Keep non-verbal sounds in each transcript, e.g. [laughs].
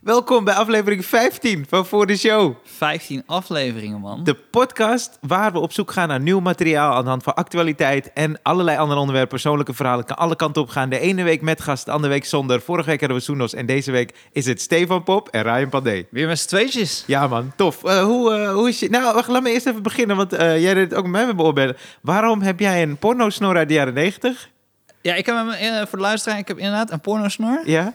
Welkom bij aflevering 15 van Voor de Show. 15 afleveringen, man. De podcast waar we op zoek gaan naar nieuw materiaal aan de hand van actualiteit en allerlei andere onderwerpen. Persoonlijke verhalen kan alle kanten op gaan. De ene week met gast, de andere week zonder. Vorige week hadden we Soenos en deze week is het Stefan Pop en Ryan Pandey. Weer met z'n tweetjes. Ja man, tof. Eh, hoe, eh, hoe is je... Nou, wacht, laat me eerst even beginnen, want eh, jij deed het ook met mij beoordelen. Waarom heb jij een pornosnor uit de jaren 90? Ja, ik heb hem, eh, voor de luisteraar, ik heb inderdaad een pornosnor. Ja,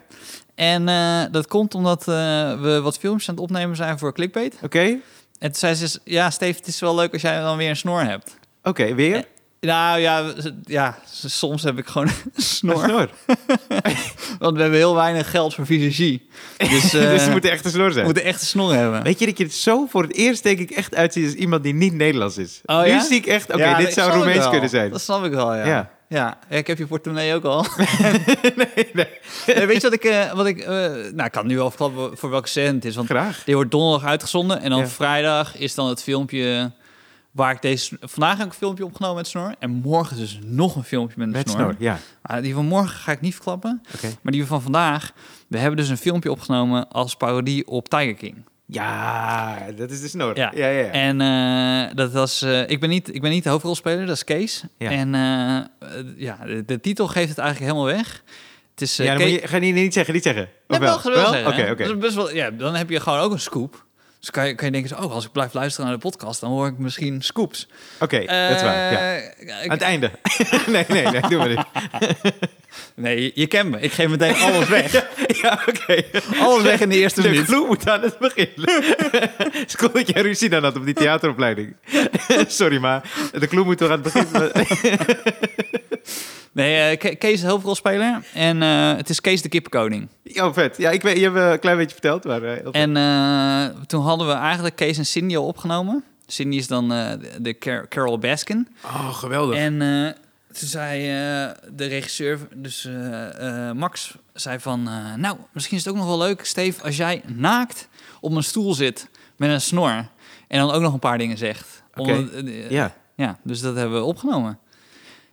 En eh, dat komt omdat eh, we wat filmpjes aan het opnemen zijn voor clickbait. oké. En toen zei ze, ja Steve, het is wel leuk als jij dan weer een snor hebt. Oké, weer? Eh, Nou ja, ze- ja, s- soms heb ik gewoon [laughs] een Een snor. Want we hebben heel weinig geld voor [laughs] fysiologie. Dus, eh dus we het moet moeten, echt een snor zijn. echt een snor hebben. Weet je dat je het zo voor het eerst denk ik echt uitziet als iemand die niet Nederlands is? Oh, nu ja? zie ik echt, oké, Ja, dit dat zou snap ik Roemeens wel. kunnen zijn. Dat snap ik wel, ja. Ja. Ja, Ja, ik heb je portemonnee ook [laughs] al. Nee, weet je wat ik... [laughs] eh, wat ik eh, nou, ik kan nu al verklappen voor welke scène het is. Want Graag. dit wordt donderdag uitgezonden. En dan Ja. vrijdag is dan het filmpje waar ik deze... Vandaag heb ik een filmpje opgenomen met snor. En morgen dus nog een filmpje met een Met snor. snor, ja. Ah, die van morgen ga ik niet verklappen. Oké. Maar die van vandaag... We hebben dus een filmpje opgenomen als parodie op Tiger King. Ja, dat is de snor. Ja, Ja. ja, ja. En eh, dat was. eh, ik, ben niet, ik ben niet de hoofdrolspeler, dat is Kees. Ja. En eh, eh, ja, de, de titel geeft het eigenlijk helemaal weg. Het is. eh ja, dan Kees- moet je, ga je niet, niet zeggen, niet zeggen. Of Nee, wel, wel zeggen, Oké, hè. Dus- oké. Dat is best wel. Ja, dan heb je gewoon ook een scoop. Dus kan je, kan je denken, zo, oh, als ik blijf luisteren naar de podcast, dan hoor ik misschien scoops. Oké, dat is waar. Ja. Eh, ik- Aan het einde. [laughs] nee, nee, nee, doen we niet. [laughs] nee, je, je kent me. Ik geef meteen alles [laughs] weg. ja, oké. alles weg in de eerste De minuut. vloer moet aan het begin. [laughs] Het is cool dat jij ruzie dan had op die theateropleiding. [laughs] Sorry, maar de clue moet toch aan het [laughs] begin. Nee, eh, Ke- Kees is de hoofdrolspeler. En eh, het is Kees de kippenkoning. Oh, vet. Ja, ik weet, je hebt eh, een klein beetje verteld, maar... eh, heel vet. En eh, toen hadden we eigenlijk Kees en Cindy al opgenomen. Cindy is dan eh, de- de Car- Carol Baskin. Oh, geweldig. En eh, toen zei eh, de regisseur, dus eh, eh, Max, zei van... eh, nou, misschien is het ook nog wel leuk, Steve, als jij naakt op een stoel zit met een snor... en dan ook nog een paar dingen zegt. Oké, Omdat, eh, ja. ja, dus dat hebben we opgenomen.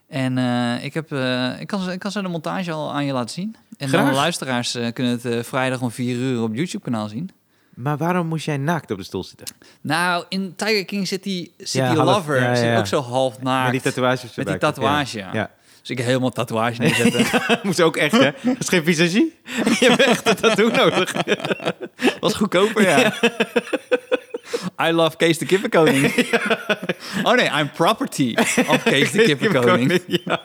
En eh, ik, heb, eh, ik, kan, ze- ik kan ze de montage al aan je laten zien. En Graag. dan de luisteraars eh, kunnen het eh, vrijdag om 4 uur op YouTube-kanaal zien. Maar waarom moest jij naakt op de stoel zitten? Nou, in Tiger King zit die, zit Ja, die half- lover. ja, Zit ja. ook zo half naakt. Met die tatoeage op zijn Met die buik. tatoeage, ja. ja. [laughs] Dus ik helemaal tatoeage neerzetten. ja. Moest ook echt, hè? Dat is geen visagie. [laughs] Je hebt echt een tattoo [laughs] nodig. Was goedkoper, [laughs] ja. [laughs] I love Kees de [laughs] Kippenkoning. Oh nee, I'm property [laughs] of Kees de Kippenkoning. Ja.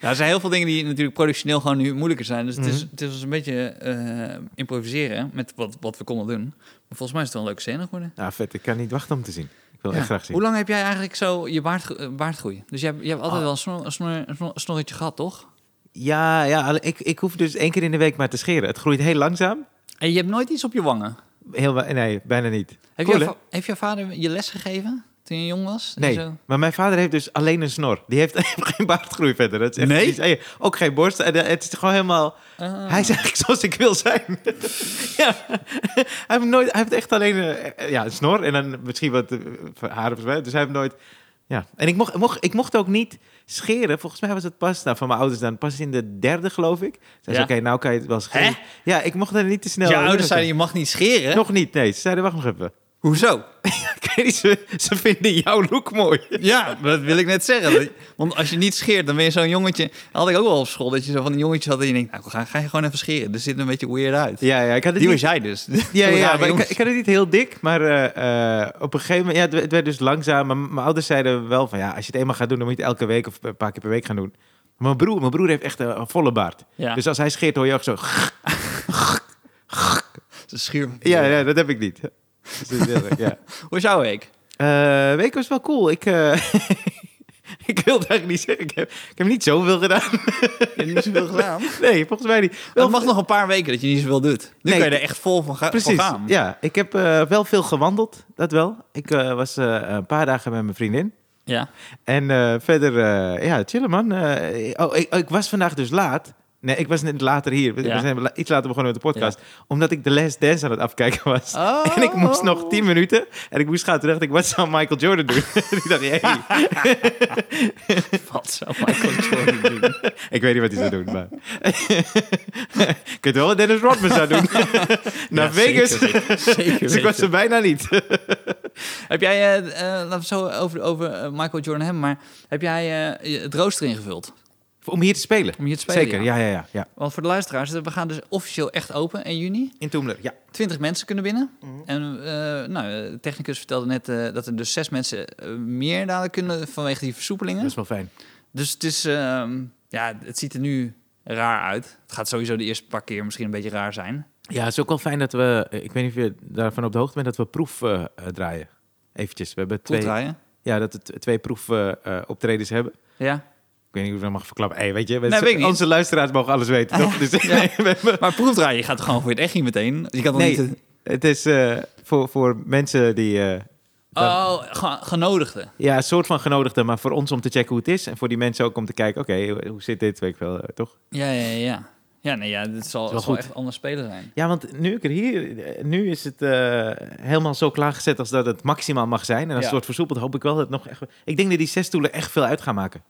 Ja, er zijn heel veel dingen die natuurlijk productioneel gewoon nu moeilijker zijn. Dus het, is, het is dus een beetje eh, improviseren met wat, wat we konden doen. Maar volgens mij is het wel een leuke scène geworden. Nou, vet. Ik kan niet wachten om te zien. Ik wil Ja. echt graag zien. Hoe lang heb jij eigenlijk zo je baard, ge- eh, baard groeien? Dus je hebt, je hebt altijd wel een, snor, een, snor- een snor- een snorretje gehad, toch? Ja, ja alle- ik, ik hoef dus één keer in de week maar te scheren. Het groeit heel langzaam. En je hebt nooit iets op je wangen? Heel, wa- nee, bijna niet. Heeft, Cool, jouw, hè? va- heeft jouw vader je les gegeven toen je jong was? Nee, Zo? maar mijn vader heeft dus alleen een snor. Die heeft, [laughs] geen baardgroei verder. Dat is echt Nee? iets- hey, ook geen borst. En, eh, Het is gewoon helemaal... Ah. Hij is eigenlijk zoals ik wil zijn. [laughs] ja. hij, heeft nooit, hij heeft echt alleen eh, ja, een snor en dan misschien wat eh, haren. volgens mij. Dus hij heeft nooit... Ja. En ik mocht, mocht, ik mocht ook niet scheren. Volgens mij was het pas nou, van mijn ouders dan pas in de derde, geloof ik. Zei ze, Ja. oké, nou kan je het wel scheren. Hè? Ja, ik mocht er niet te snel... je ouders zeiden, je mag niet scheren. Nog niet, nee. Ze zeiden, wacht nog even. [laughs] Hoezo? Ik weet niet, ze, ze vinden jouw look mooi. [laughs] Ja, dat wil ik net zeggen. Want als je niet scheert, dan ben je zo'n jongetje... Dat had ik ook wel op school, dat je zo van een jongetje had... en je denkt, nou, ga, ga je gewoon even scheren. Dus zit er een beetje weird uit. Ja, ja, ik had het Die niet- was jij dus. Ja, ja maar ik, ik had het niet heel dik, maar eh, eh, op een gegeven moment, ja, het, het werd dus langzaam. Mijn, mijn ouders zeiden wel van, ja, als je het eenmaal gaat doen, dan moet je het elke week of een paar keer per week gaan doen. Maar Mijn broer, mijn broer heeft echt een, een volle baard. Ja. Dus als hij scheert, hoor je ook zo. [laughs] Ze schuur. Ja, ja, dat heb ik niet. [laughs] Dus dat is heel erg, ja. Hoe is jouw [laughs] week? Eh, week was wel cool. Ik, eh, [laughs] ik wilde eigenlijk niet zeggen, ik heb, ik heb niet zoveel gedaan. [laughs] Je hebt niet zoveel gedaan. Nee, volgens mij niet. Het mag nog een paar weken dat je niet zoveel doet. Nu Nee. kan je er echt vol van, ga- Precies. van gaan. Ja, ik heb eh, wel veel gewandeld, dat wel. Ik eh, was eh, een paar dagen met mijn vriendin. Ja. [laughs] En eh, verder, eh, ja, chillen man. Eh, oh, ik, oh, ik was vandaag dus laat. Nee, ik was net later hier. We, we Ja. zijn la- iets later begonnen met de podcast. Omdat ik de Last Dance aan het afkijken was. Oh. [laughs] En ik moest nog tien minuten. En ik moest gaan. Toen dacht ik, wat zou Michael Jordan doen? [laughs] ik dacht, hey, [laughs] Wat zou Michael Jordan [laughs] doen? ik weet niet wat hij zou doen. Maar... [laughs] ik weet wel wat Dennis Rodman zou doen. [laughs] Naar Ja, Vegas. Zeker, weten. Zeker [laughs] Dus ik was weten. er bijna niet. Heb jij, eh, eh, laten we het zo over, over eh, Michael Jordan hebben, maar heb jij eh, je- het rooster ingevuld Om hier te spelen. om hier te spelen? Zeker, ja, ja, ja. ja. Want voor de luisteraars, we gaan dus officieel echt open in juni. In Toemler, ja. 20 mensen kunnen binnen. Mhm. En eh, nou, eh, de technicus vertelde net eh, dat er dus zes mensen eh, meer dadelijk kunnen vanwege die Dat versoepelingen. is wel fijn. Dus het is, ehm, ja, het ziet er nu raar uit. Het gaat sowieso de eerste paar keer misschien een beetje raar zijn. Ja, het is ook wel fijn dat we... eh, Ik weet niet of je daarvan op de hoogte bent dat we proef eh, eh, draaien. Eventjes. We hebben Cool twee, draaien. ja, dat we t- twee proefoptredens hebben. Ja. Ik weet niet of ik dat mag verklappen. Hey, weet je, Nee, weet ik niet. onze luisteraars mogen alles weten, toch? Dus, [laughs] nee, we hebben- Maar proefdraaien, je gaat gewoon voor het echt niet meteen. Je kan dan nee, niet... het is eh, voor, voor mensen die... eh, dan- Oh, ge- genodigden. Ja, een soort van genodigden, maar voor ons om te checken hoe het is. En voor die mensen ook om te kijken, oké, hoe- hoe zit dit, weet ik wel, eh, toch? Ja, ja, ja. Ja, nee, ja, dit zal, wel zal goed. echt anders spelen zijn. Ja, want nu ik er hier... eh, Nu is het eh, helemaal zo klaargezet als dat het maximaal mag zijn. En als Ja. het wordt versoepeld, hoop ik wel dat het nog echt... Ik denk dat die zes stoelen echt veel uit gaan maken.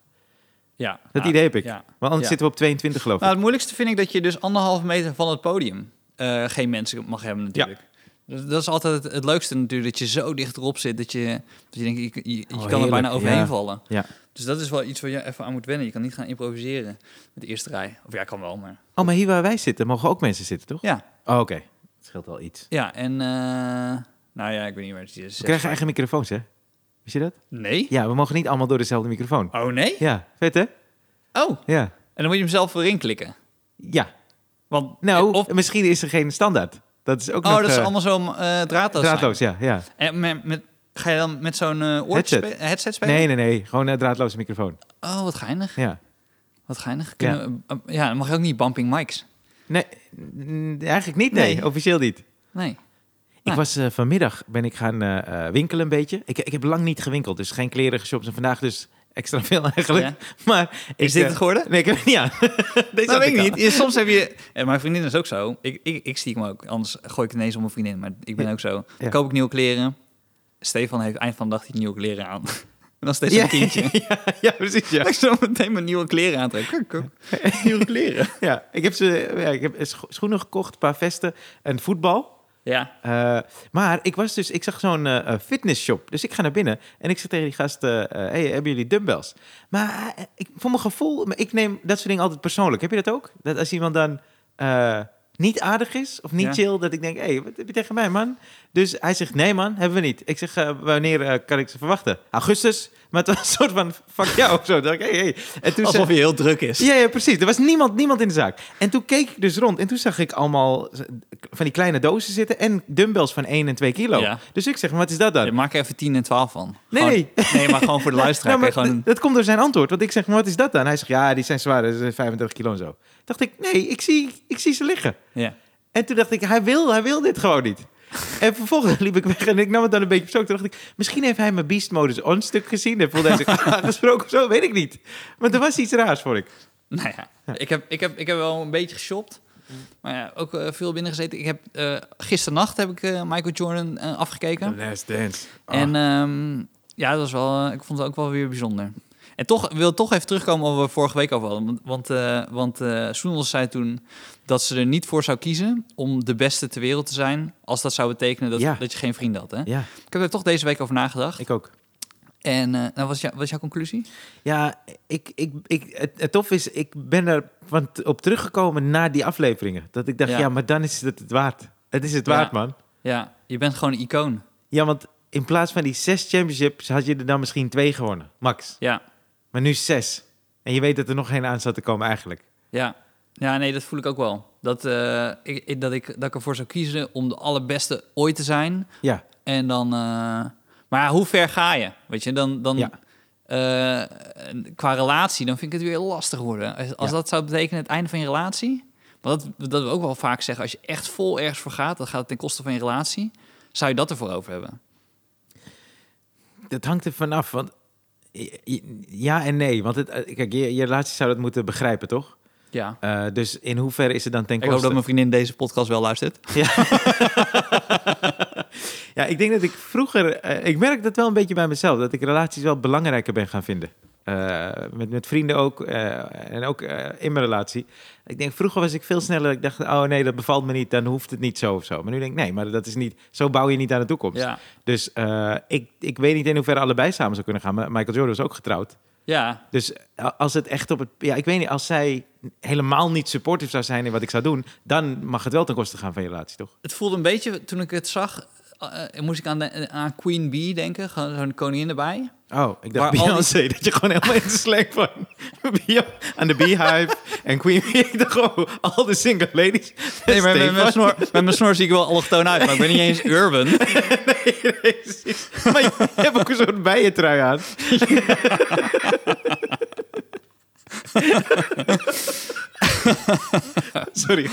Ja. Dat Ja. idee heb ik. Ja. Want anders Ja. zitten we op 22, geloof ik. Nou, het moeilijkste vind ik dat je dus anderhalve meter van het podium eh, geen mensen mag hebben natuurlijk. Dat, dat is altijd het, het leukste natuurlijk, dat je zo dicht erop zit dat je, dat je denkt, je, je, je Oh, kan er heerlijk, bijna overheen ja. vallen. Ja. Dus dat is wel iets waar je even aan moet wennen. Je kan niet gaan improviseren met de eerste rij. Of ja, kan wel, maar... Oh, maar hier waar wij zitten, mogen ook mensen zitten, toch? Ja, Oh, oké. Dat scheelt wel iets. ja en... eh, nou ja, ik weet niet waar het is. We krijgen eigen microfoons, hè? Wist je dat? Nee? Ja, we mogen niet allemaal door dezelfde microfoon. Oh, nee? Ja, vet hè? Oh, en Ja. dan moet je hem zelf weer inklikken. Ja. Want, Nou, Eh, Of, misschien is er geen standaard. Dat is ook oh, nog... dat is eh, allemaal zo eh draadloos. zijn. Draadloos, ja. ja. En met, met- ga je dan met zo'n eh oortje Headset. spe- headset spelen? Nee, nee, nee. Gewoon een draadloze microfoon. Oh, wat geinig. Ja. Wat geinig. Kunnen we- eh, ja, dan mag je ook niet bumping mics. Nee, mm, eigenlijk niet, nee. Nee. Officieel niet. Nee. Ik Nou. was eh, vanmiddag, ben ik gaan eh, eh, winkelen een beetje. Ik, ik heb lang niet gewinkeld, dus geen kleren geshopt. En vandaag dus extra veel eigenlijk. [laughs] Maar ik, Is dit eh, het [laughs] geworden? Nee, ik heb het niet aan. Deze Dat had weet ik al. niet. Ja, soms heb je... En mijn vriendin is ook zo. Ik, ik, ik zie hem ook. Anders gooi ik het ineens om mijn vriendin. Maar ik ben ook zo. Ja. Dan koop ik nieuwe kleren. Stefan heeft eind van de dag die nieuwe kleren aan. [laughs] En dan steeds Ja. een [laughs] tientje. Ja, precies, ja. Dat ik zo meteen mijn nieuwe kleren aantrek. Kuk, kuk. [laughs] Nieuwe kleren. ja. Ik heb, ze, ja, ik heb scho- schoenen gekocht, een paar vesten en voetbal. Ja. Eh, maar ik was dus, ik zag zo'n eh, eh, fitnessshop. Dus ik ga naar binnen en ik zeg tegen die gast: eh, eh, Hey, hebben jullie dumbbells? Maar eh, ik, voor mijn gevoel, maar ik neem dat soort dingen altijd persoonlijk. Heb je dat ook? Dat als iemand dan eh, niet aardig is of niet Ja. chill, dat ik denk: Hey, wat heb je tegen mij, man? Dus hij zegt: Nee, man, hebben we niet. Ik zeg: "Eh, Wanneer eh, kan ik ze verwachten? Augustus. Maar het was een soort van: Fuck jou of zo. Dacht ik, hey, hey. En toen Alsof zei- je heel druk is. ja, ja, precies. Er was niemand, niemand in de zaak. En toen keek ik dus rond en toen zag ik allemaal van die kleine dozen zitten en dumbbells van 1 en 2 kilo. Ja. Dus ik zeg, maar wat is dat dan? Je maakt er even 10 en 12 van. Nee, Gewoon- nee, maar gewoon voor de [laughs] luisteraar. Nou, maar kan je gewoon... d- Dat komt door zijn antwoord. Want ik zeg, maar wat is dat dan? Hij zegt, ja, die zijn zwaar, dat is 35 kilo en zo. Dacht ik, nee, ik zie, ik zie ze liggen. Ja. En toen dacht ik, hij wil, hij wil dit gewoon [laughs] niet. En vervolgens liep ik weg en ik nam het dan een beetje persoonlijk. Toen dacht ik, misschien heeft hij mijn Beast Modus on stuk gezien. En voelde hij [laughs] zich aangesproken of zo, weet ik niet. Maar er was iets raars, vond ik. Nou ja, ik heb, ik heb, ik heb wel een beetje geshopt. Maar ja, ook eh, veel binnen gezeten. Ik heb, eh gisternacht heb ik eh, Michael Jordan eh, afgekeken. last dance. En ehm, ja, dat was wel, eh, ik vond het ook wel weer bijzonder. En toch ik wil toch even terugkomen op wat we vorige week over hadden. Want- Want, eh want eh, Soendels zei toen dat ze er niet voor zou kiezen om de beste ter wereld te zijn. Als dat zou betekenen dat, Ja. dat je geen vrienden had. Hè? Ah, ja, Ik heb er toch deze week over nagedacht. ik ook. En eh, nou, wat, is jou- wat is jouw conclusie? Ja, ik, ik, ik, het, het tof is, ik ben er van t- op teruggekomen na die afleveringen. Dat ik dacht, ja, Ja. maar dan is het het waard. Het is het waard, Ja. man. Ja, je bent gewoon een icoon. Ja, want in plaats van die zes championships had je er dan misschien twee gewonnen, max. Ja, Maar nu zes. En je weet dat er nog geen aan zat te komen eigenlijk. Ja. ja, nee, dat voel ik ook wel. Dat, eh, ik, ik- dat, ik, dat ik ervoor zou kiezen om de allerbeste ooit te zijn. Ja, En dan... eh, maar ja, hoe ver ga je? Weet je, dan... dan Ja. eh, en qua relatie, dan vind ik het weer lastig worden. Als, als Ja. dat zou betekenen het einde van je relatie... Want dat, dat we ook wel vaak zeggen, als je echt vol ergens voor gaat... dan gaat het ten koste van je relatie. Zou je dat ervoor over hebben? dat hangt er vanaf, want... Ja en nee, want het, eh, kijk, je, je relatie zou dat moeten begrijpen, toch? Ja. Eh, dus in hoeverre is het dan ten Ik hoop dat koste... mijn vriendin deze podcast wel luistert. Ja, ik denk dat ik vroeger... eh, ik merk dat wel een beetje bij mezelf. Dat ik relaties wel belangrijker ben gaan vinden. Eh, met, met vrienden ook. eh, en ook eh, in mijn relatie. Ik denk, vroeger was ik veel sneller. Ik dacht, oh nee, dat bevalt me niet. Dan hoeft het niet zo of zo. Maar nu denk ik, nee, maar dat is niet... Zo bouw je niet aan de toekomst. Ja. Dus eh, ik, ik weet niet in hoeverre allebei samen zou kunnen gaan. Maar Michael Jordan is ook getrouwd. Ja. Dus eh, als het echt op het... Ja, ik weet niet, als zij helemaal niet supportive zou zijn in wat ik zou doen... dan mag het wel ten koste gaan van je relatie, toch? Het voelde een beetje, toen ik het zag, eh, eh, moest ik aan, de, aan Queen Bee denken. Gewoon zo'n koningin erbij. Oh, ik Waar al dacht die- Beyoncé, dat je gewoon helemaal in de slang van... Bio- aan de Beehive en Queen Bee. [laughs] Ik dacht gewoon, al de single ladies. Nee, maar met, mijn Stefan. [laughs] snor, met mijn snor zie ik wel allochtoon uit, maar ik ben niet eens urban. Precies. [laughs] Maar je hebt ook een soort bijentrui [laughs] aan. Sorry.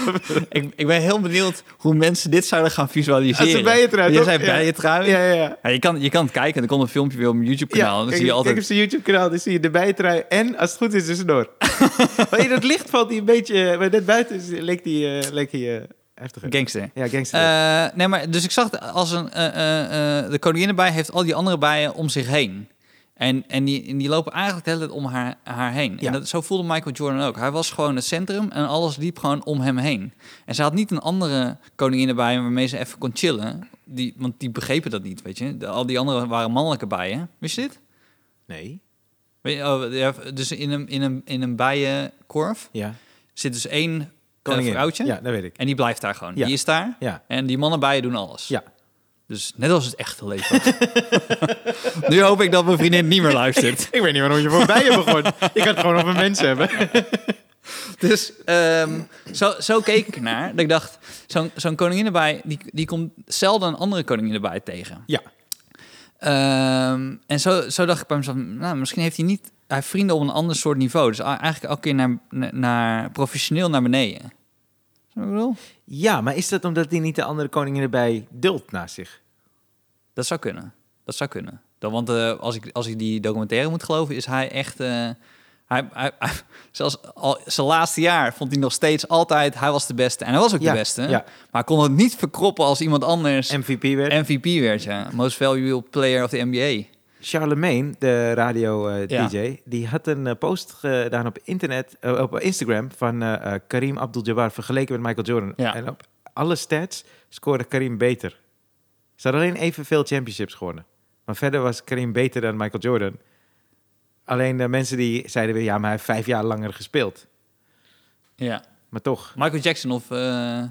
ik, ik ben heel benieuwd hoe mensen dit zouden gaan visualiseren. Als een bijentrui, Je toch? zei Ja. bijentrui. Ja, ja, ja. Ja, je, kan, je kan het kijken, er komt een filmpje weer op mijn YouTube-kanaal. en dan kijk, zie je altijd... kijk op zijn YouTube-kanaal, dan zie je de bijentrui en, als het goed is, de snor. [laughs] maar in het licht valt hij een beetje... eh, Maar net buiten is- leek hij eh, leek hij eh, heftiger. Gangster. ja, gangster. Eh, nee, maar dus ik zag het als een, eh, eh, eh, de koningin bij heeft al die andere bijen om zich heen. En, en, die, en die lopen eigenlijk de hele tijd om haar, haar heen. Ja. En dat, zo voelde Michael Jordan ook. Hij was gewoon het centrum en alles liep gewoon om hem heen. En ze had niet een andere koningin erbij waarmee ze even kon chillen. Die, want die begrepen dat niet, weet je. De- al die anderen waren mannelijke bijen. Wist je dit? nee. Weet je, oh, ja, dus in een, in, een, in een bijenkorf Ja. zit dus één eh, Koningin. vrouwtje. Ja, dat weet ik. En die blijft daar gewoon. Ja. Die is daar. Ja. En die mannen bijen doen alles. Ja. Dus net als het echte leven. [laughs] nu hoop ik dat mijn vriendin niet meer luistert. Ik weet niet waarom je voor bijen begon. Je kan het gewoon over mensen hebben. [laughs] Dus ehm, zo, zo keek ik ernaar. Dat ik dacht, zo'n zo'n koningin erbij, die, die komt zelden een andere koningin erbij tegen. Ja. Ehm, en zo, zo dacht ik bij mezelf, nou, misschien heeft hij niet... Hij heeft vrienden op een ander soort niveau. Dus a- eigenlijk elke keer naar, naar, naar- professioneel naar beneden. Snap je wat ik bedoel? Ja, maar is dat omdat hij niet de andere koningin erbij duldt naast zich? Dat zou kunnen. Dat zou kunnen. Dan, want eh, als, ik, als ik die documentaire moet geloven, is hij echt. eh, hij, hij, hij- zelfs al zijn laatste jaar vond hij nog steeds altijd. Hij was de beste. En hij was ook Ja, de beste. ja. Maar hij kon het niet verkroppen als iemand anders MVP werd. MVP werd. Ja. Most valuable player of the NBA. Charlemagne, de Ja. radio-dj, die had een eh, post gedaan op internet, eh, op Instagram van eh, eh, Karim Abdul-Jabbar vergeleken met Michael Jordan. Ja. En op alle stats scoorde Karim beter. Ze hadden alleen evenveel championships gewonnen. Maar verder was Karim beter dan Michael Jordan. Alleen de mensen die zeiden weer, ja, maar hij heeft vijf jaar langer gespeeld. Ja. Maar toch, [laughs] Michael Jackson of. eh, eh,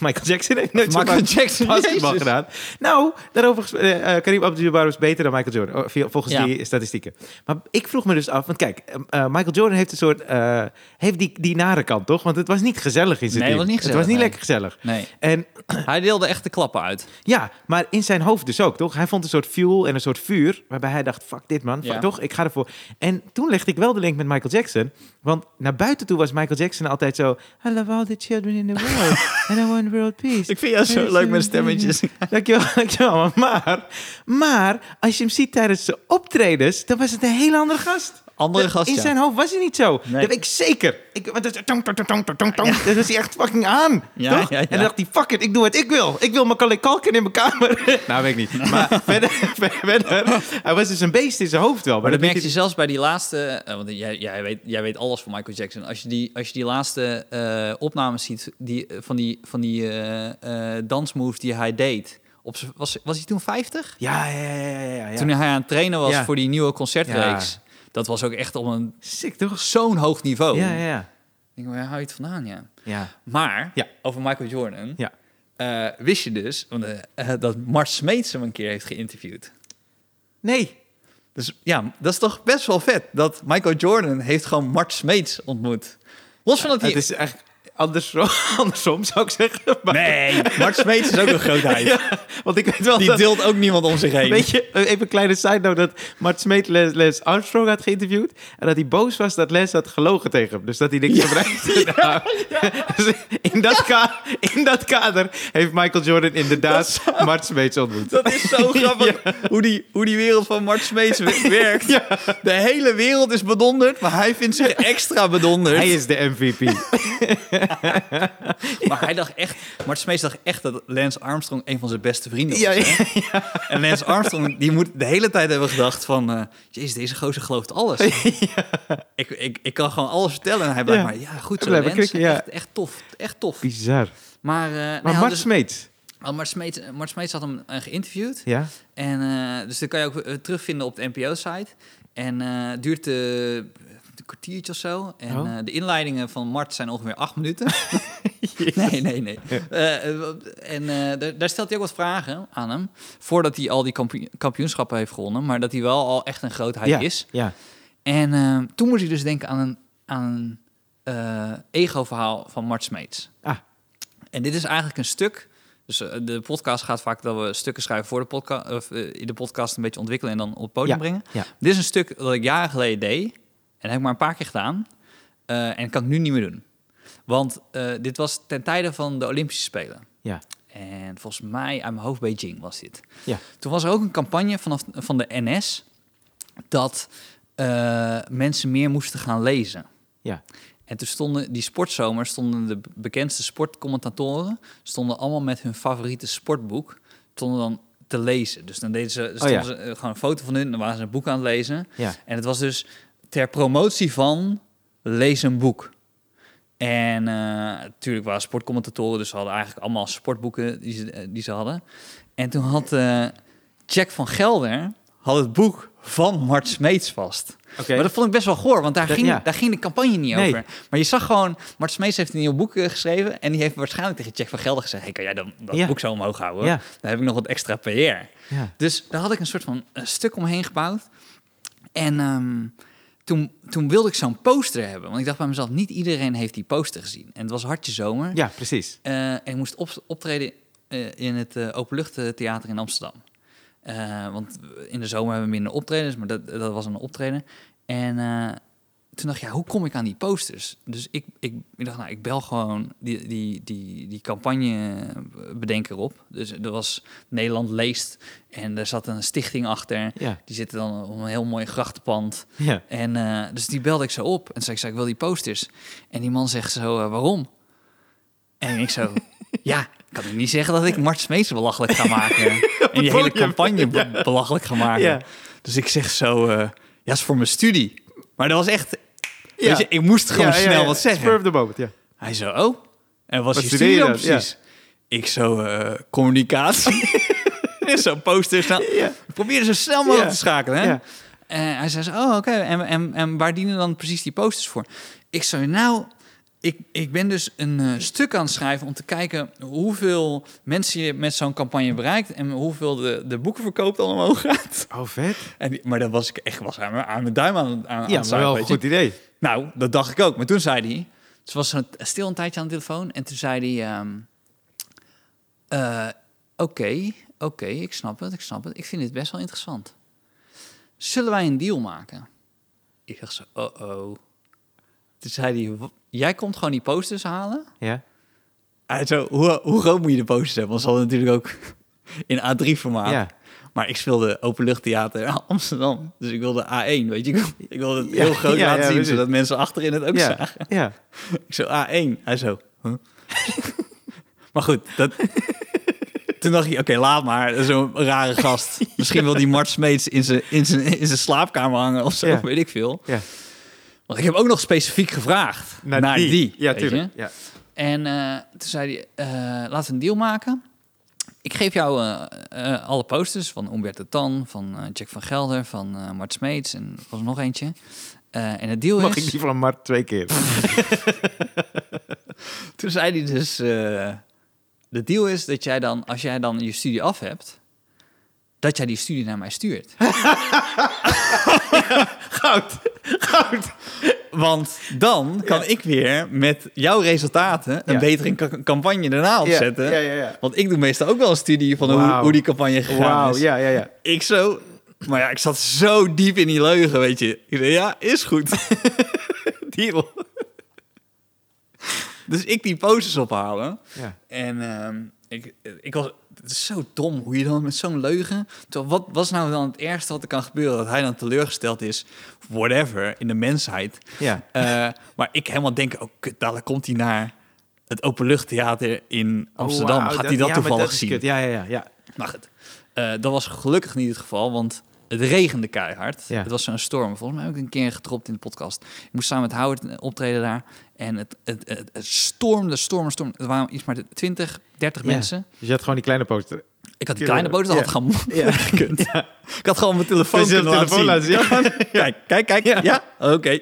Michael Jackson heeft nooit zo Michael vaak [laughs] Jackson. basketbal Jezus. gedaan. Nou, daarover gesproken. eh, eh, Karim Abdul-Jabbar was beter dan Michael Jordan, oh, via- volgens Ja. die statistieken. Maar ik vroeg me dus af, want kijk, eh, eh, Michael Jordan heeft een soort, eh, heeft die, die nare kant toch? Want het was niet gezellig in zijn Nee, het team. was niet het was niet gezellig, lekker gezellig. Nee. En Hij deelde echt de klappen uit. ja, maar in zijn hoofd dus ook, toch? Hij vond een soort fuel en een soort vuur, waarbij hij dacht, fuck dit man, fuck Ja. toch, ik ga ervoor. En toen legde ik wel de link met Michael Jackson, want naar buiten toe was Michael Jackson altijd zo, I love all the children in the [laughs] world, and I want world peace. vind jou zo leuk met [laughs] stemmetjes. Dankjewel, [laughs] dankjewel. Maar, maar als je hem ziet tijdens zijn optredens, dan was het een heel andere gast. Andere Dat- gast. In ja. zijn hoofd was hij niet zo. Nee. Dat weet ik zeker. Ik, want dat is tong, tong, tong, tong, tong, tong. Dat was hij echt fucking aan. Ja, toch? ja, ja. En dan dacht hij, fuck it, ik doe wat ik wil. Ik wil mijn kalken in mijn kamer. [laughs] nou, weet ik niet. [laughs] Maar verder, [laughs] verder, hij was dus een beest in zijn hoofd wel. Maar dat weet merk je zelfs bij die laatste... eh, want jij, jij, weet, jij weet alles van Michael Jackson. Als je die, als je die laatste eh, opnames ziet die, eh, van die, van die eh, eh, dansmove die hij deed... Op z'n- was, was hij toen 50? Ja, ja, ja, ja, ja, ja. Toen hij aan het trainen was Ja. voor die nieuwe concertreeks. Dat was ook echt op een, Sick, toch? zo'n hoog niveau. Ja, ja, ja. Ik denk, waar hou je het vandaan, ja? Ja, Maar, Ja. over Michael Jordan... ja. eh, wist je dus want, eh, eh, dat Mart Smeets hem een keer heeft geïnterviewd? Nee. Dus ja, dat is toch best wel vet dat Michael Jordan heeft gewoon Mart Smeets ontmoet. Los van dat hij Het is eigenlijk andersom, [laughs] andersom zou ik zeggen. Maar, [laughs] Nee, Max Smeets is ook een grootheid. Ja, want ik weet wel Die dat... deelt ook niemand om zich heen. Weet je, even een kleine side note, dat Mart Smeet Les, Les Armstrong had geïnterviewd. En dat hij boos was dat Les had gelogen tegen hem. Dus dat hij niks [laughs] gebruikte. Dus in, dat ka- in dat kader heeft Michael Jordan inderdaad Mart Smeets ontmoet. Dat is [laughs] zo grappig hoe, die, hoe die wereld van Mart Smeets we- werkt. De hele wereld is bedonderd, maar hij vindt zich extra bedonderd. Hij is de MVP. Maar hij dacht echt, Mart Smeets dacht echt dat Lance Armstrong een van zijn beste vrienden was. Ja, hè? En Lance Armstrong, die moet de hele tijd hebben gedacht van, eh jezus, deze gozer gelooft alles. Ik, ik, ik kan gewoon alles vertellen. En hij blijft Ja. maar, ja, goed zo Hij blijft maar Lance. krikken, ja. echt, echt tof, echt tof. Bizar. Maar, eh Maar nou, Mart dus- Smeets, oh, Mart, Smeets, eh, Mart Smeets had hem eh, geïnterviewd. ja? En, eh, dus dat kan je ook eh, terugvinden op de NPO-site. En eh, het duurt eh, een kwartiertje of zo. En Oh. eh, de inleidingen van Mart zijn ongeveer [laughs] acht minuten. [laughs] nee, nee, nee. Eh, eh, wat- en eh, daar- daar stelt hij ook wat vragen aan hem. Voordat hij al die kampioen- kampioenschappen heeft gewonnen. Maar dat hij wel al echt een grootheid ja. is. Ja. En eh, toen moest hij dus denken aan een, aan een eh, ego-verhaal van Mart Smeets. Ah. En dit is eigenlijk een stuk. Dus eh, de podcast gaat vaak dat we stukken schrijven voor de podcast. Of eh, in de podcast een beetje ontwikkelen en dan op het podium Ja, brengen. ja. Dit is een stuk dat ik jaren geleden deed. En dat heb ik maar een paar keer gedaan. Eh, en dat kan ik nu niet meer doen. Want eh, dit was ten tijde van de Olympische Spelen. Ja. En volgens mij uit mijn hoofd Beijing was dit. Ja. Toen was er ook een campagne vanaf, van de NS dat eh, mensen meer moesten gaan lezen. Ja. En toen stonden die sportzomer, stonden de be- bekendste sportcommentatoren, stonden allemaal met hun favoriete sportboek, stonden dan te lezen. Dus dan deden ze, stonden Oh ja. ze eh, gewoon een foto van hun, en dan waren ze een boek aan het lezen. Ja. En het was dus ter promotie van lees een boek. En eh, natuurlijk waren sportcommentatoren, dus ze hadden eigenlijk allemaal sportboeken die ze, eh, die ze hadden. En toen had eh, Jack van Gelder had het boek van Mart Smeets vast. Oké. Maar dat vond ik best wel goor, want daar, Dat- ging, ja. daar ging de campagne niet Nee. over. Maar je zag gewoon, Mart Smeets heeft een nieuw boek eh, geschreven... en die heeft waarschijnlijk tegen Jack van Gelder gezegd... hey, kan jij dan, dat Ja. boek zo omhoog houden? Ja. Dan heb ik nog wat extra PR. Ja. Dus daar had ik een soort van eh, stuk omheen gebouwd. En ehm, toen, toen wilde ik zo'n poster hebben. Want ik dacht bij mezelf, niet iedereen heeft die poster gezien. En het was hartje zomer. ja, precies. Eh, en ik moest op, optreden eh, in het eh, Openluchttheater in Amsterdam. Eh, want in de zomer hebben we minder optredens, maar dat, dat was een optreden. En eh, toen dacht ik, ja, hoe kom ik aan die posters? Dus ik, ik, ik dacht, nou, ik bel gewoon die, die, die, die campagnebedenker op. Dus er was Nederland Leest en daar zat een stichting achter. Ja. Die zitten dan op een heel mooi grachtenpand. Ja. En eh, dus die belde ik zo op. En zei ik, zei, ik wil die posters. En die man zegt zo, eh, waarom? En ik zo, ja, ik kan ik niet zeggen dat ik Mart Smeets belachelijk ga [laughs] maken. en die hele podium. campagne be- belachelijk ga maken. Ja. Dus ik zeg zo, eh, ja, is voor mijn studie. Maar dat was echt, Ja. weet je, ik moest gewoon Ja, ja, snel ja. wat zeggen. Spur of the moment, ja. Hij zo, oh, en was Wat je studeer studie je dan dan? Ja. precies? Ik zo, eh, communicatie. [laughs] [laughs] zo posters. Nou, Ja. we proberen zo snel mogelijk Ja. te schakelen. Hè? Ja. Eh, hij zei zo, oh, oké, en, en, en waar dienen dan precies die posters voor? Ik zo, nou, ik, ik ben dus een eh, stuk aan het schrijven om te kijken hoeveel mensen je met zo'n campagne bereikt en hoeveel de, de boekenverkoop dan omhoog gaat. [laughs] Oh, vet. En die- maar dan was ik echt was aan, mijn- aan mijn duim aan, aan, aan Ja, het maar wel zuigen, een weet je. goed idee. Nou, dat dacht ik ook. Maar toen zei hij... Ze was zo stil een tijdje aan de telefoon. En toen zei hij... ehm, eh, Oké, oké, ik snap het, ik snap het. Ik vind dit best wel interessant. Zullen wij een deal maken? Ik dacht zo, oh-oh. Toen zei hij, "Wa- jij komt gewoon die posters halen? Ja. Hij Eh, zo, hoe, hoe groot moet je de posters hebben? Want ze hadden natuurlijk ook in A3-formaat. Ja. Maar ik speelde openluchttheater Amsterdam. Dus ik wilde A1, weet je. Ik wilde- Ik wilde het heel Ja, groot ja, ja, laten zien, precies. zodat mensen achterin het ook zagen. Ja. ja. Ik zo, A1. Hij zo, huh? [laughs] maar goed, dat... Toen dacht ik, oké, laat maar. Dat is Zo'n rare [laughs] gast. Misschien wil die Mart Smeets in zijn, in zijn, in zijn slaapkamer hangen of zo, Ja. weet ik veel. Ja. Want ik heb ook nog specifiek gevraagd naar, die. Ja, weet je. tuurlijk. Ja. En eh, toen zei hij, eh, laten we een deal maken. Ik geef jou eh, eh, alle posters van Umberto Tan, van eh, Jack van Gelder, van eh, Mart Smeets en er was nog eentje. Eh, en het deal Mag is... ik die van Mart twee keer? Toen zei hij dus, eh, de deal is dat jij dan, als jij dan je studie af hebt, dat jij die studie naar mij stuurt. [laughs] Goud. Goud. Want Want dan kan ik weer met jouw resultaten een Ja. betere ca- campagne daarna opzetten. Ja, ja, ja. Want ik doe meestal ook wel een studie van hoe, Wauw. hoe die campagne gegaan Wauw, is. ja, ja, ja. Ik zo... Maar ja, ik zat zo diep in die leugen, weet je. Ik zei, ja, is goed. Deal. dus ik die posters ophalen. Ja. En ehm, ik, ik was... Het is zo dom hoe je dan met zo'n leugen... Terwijl wat was nou dan het ergste wat er kan gebeuren? Dat hij dan teleurgesteld is, whatever, in de mensheid. Ja. Eh, maar ik helemaal denk, oh kut, dadelijk komt hij naar het Openluchttheater in Amsterdam. Oh, wauw, Gaat hij dat ja, maar toevallig dat is zien? kut. Ja, ja, ja. ja. Maar goed, Eh, dat was gelukkig niet het geval, want het regende keihard. Ja. Het was zo'n storm. Volgens mij heb ik een keer getropt in de podcast. Ik moest samen met Howard eh, optreden daar. En het, het, het, het stormde, stormde, stormde. Er waren iets maar 20, 30 Ja. mensen. Dus je had gewoon die kleine poster. Ik had die Ja. kleine boot, dat had Ja. gewoon Ja. [laughs] gekund. Ik had gewoon mijn telefoon Dus je kunnen had laten telefoon zien. laten zien. Ik had gewoon- [laughs] Kijk, kijk, kijk. Ja, Ja. oké.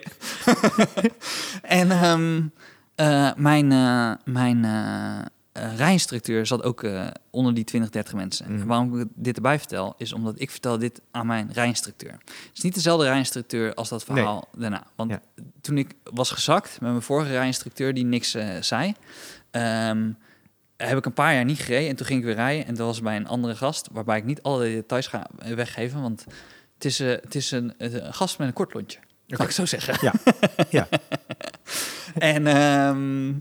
[laughs] en ehm, eh, mijn, eh, mijn eh, eh, rijinstructeur zat ook eh, onder die 20, 30 mensen. Mm. En waarom ik dit erbij vertel, is omdat ik vertel dit aan mijn rijinstructeur. Het is niet dezelfde rijinstructeur als dat verhaal daarna. Want Ja. toen ik was gezakt met mijn vorige rijinstructeur die niks eh, zei... ehm, heb ik een paar jaar niet gereden en toen ging ik weer rijden. En dat was bij een andere gast, waarbij ik niet alle details ga eh, weggeven. Want het is, eh, het is een, het- een gast met een kort lontje. Kan ik zo zeggen. Ja. Ja. [laughs] en ehm,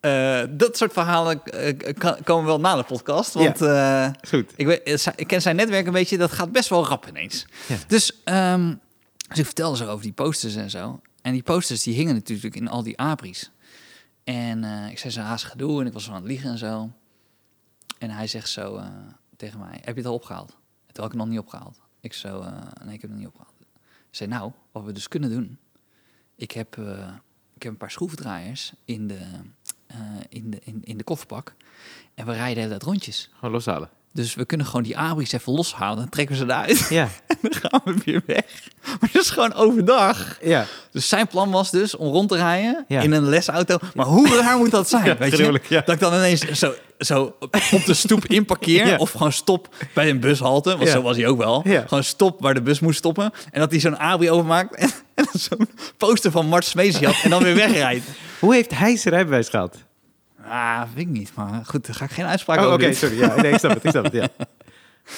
eh, dat soort verhalen eh, kan- komen wel na de podcast. Want eh, [laughs] Is goed. ik, weet, eh, zij- ik ken zijn netwerk een beetje, dat gaat best wel rap ineens. Ja. Dus, ehm, dus ik vertelde ze over die posters en zo. En die posters die hingen natuurlijk in al die abris. En eh, ik zei ze haast gedoe en ik was wel aan het liegen en zo. En hij zegt zo eh, tegen mij, heb je het al opgehaald? En toen had ik het nog niet opgehaald. Ik zo, eh, nee, ik heb het nog niet opgehaald. Ik zei, nou, wat we dus kunnen doen. Ik heb, eh, ik heb een paar schroevendraaiers in de, eh, in, de, in, in de kofferbak. En we rijden de hele tijd rondjes. Gewoon loshalen. Dus we kunnen gewoon die abris even loshalen. Dan trekken we ze eruit. [laughs] Ja. Dan gaan we weer weg. Maar dat is gewoon overdag. Ja. Dus zijn plan was dus om rond te rijden Ja. in een lesauto. Maar hoe raar moet dat zijn? Ja, weet je? gruwelijk, ja. Dat ik dan ineens zo, zo op de stoep [laughs] inparkeer. Ja. Of gewoon stop bij een bushalte. Want Ja. zo was hij ook wel. Ja. Gewoon stop waar de bus moest stoppen. En dat hij zo'n abri overmaakt. En, [laughs] en dan zo'n poster van Mart Smeesy had. En dan weer wegrijdt. Hoe heeft hij zijn rijbewijs gehad? Ah, weet ik niet. Maar goed, daar ga ik geen uitspraak Oh, oké, over doen. sorry. Ja, nee, ik snap het. Ik snap het, [laughs] ja.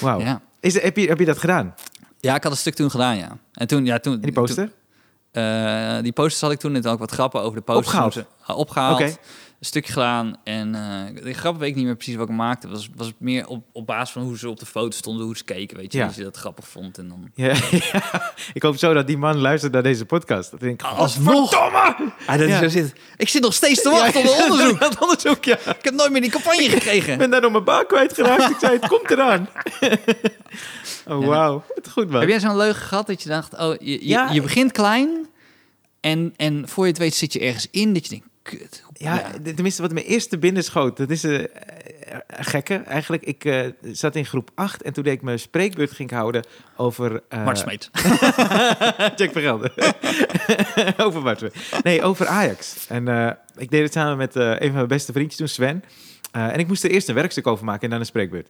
Wauw. Ja. Is, heb, je, heb je dat gedaan? En Ja, ik had een stuk toen gedaan, ja. En toen, ja, toen... En die poster? Eh, die posters had ik toen net ook wat grappen over de posters Opgehaald? moeten- ah, opgehaald. Oké. Een stukje gedaan. En eh de grappen weet ik niet meer precies wat ik maakte. Het was, was meer op, op basis van hoe ze op de foto stonden, hoe ze keken. Weet je, Ja. dat je dat grappig vond. En dan... Ja, [laughs] Ik hoop zo dat die man luistert naar deze podcast. Dat denk ik, Oh, Alsnog! Godverdomme! Ah, dat Ja. hij zo zit. Ik zit nog steeds te wachten op het [laughs] onderzoek. Dat onderzoek, ja. Ik heb nooit meer die campagne [laughs] Ik gekregen. ben daar nog mijn baan kwijtgeraakt. Ik zei, het komt [laughs] eraan. Oh, wauw. Wat goed, man. Heb jij zo'n leugen gehad dat je dacht, oh, je, je, Ja, je begint klein en, en voor je het weet zit je ergens in dat je denkt, kut. hoe- Ja, Eh, d- tenminste, wat me eerst te binnen schoot, dat is eh, eh, gekke eigenlijk. Ik eh, zat in groep 8 en toen deed ik mijn spreekbeurt ging ik houden over... eh, Mart Smeet. [laughs] Jack van Gelder. over Mart Smeet. Nee, over Ajax. En eh, ik deed het samen met eh, een van mijn beste vriendjes toen, Sven. Eh, en ik moest er eerst een werkstuk over maken en dan een spreekbeurt.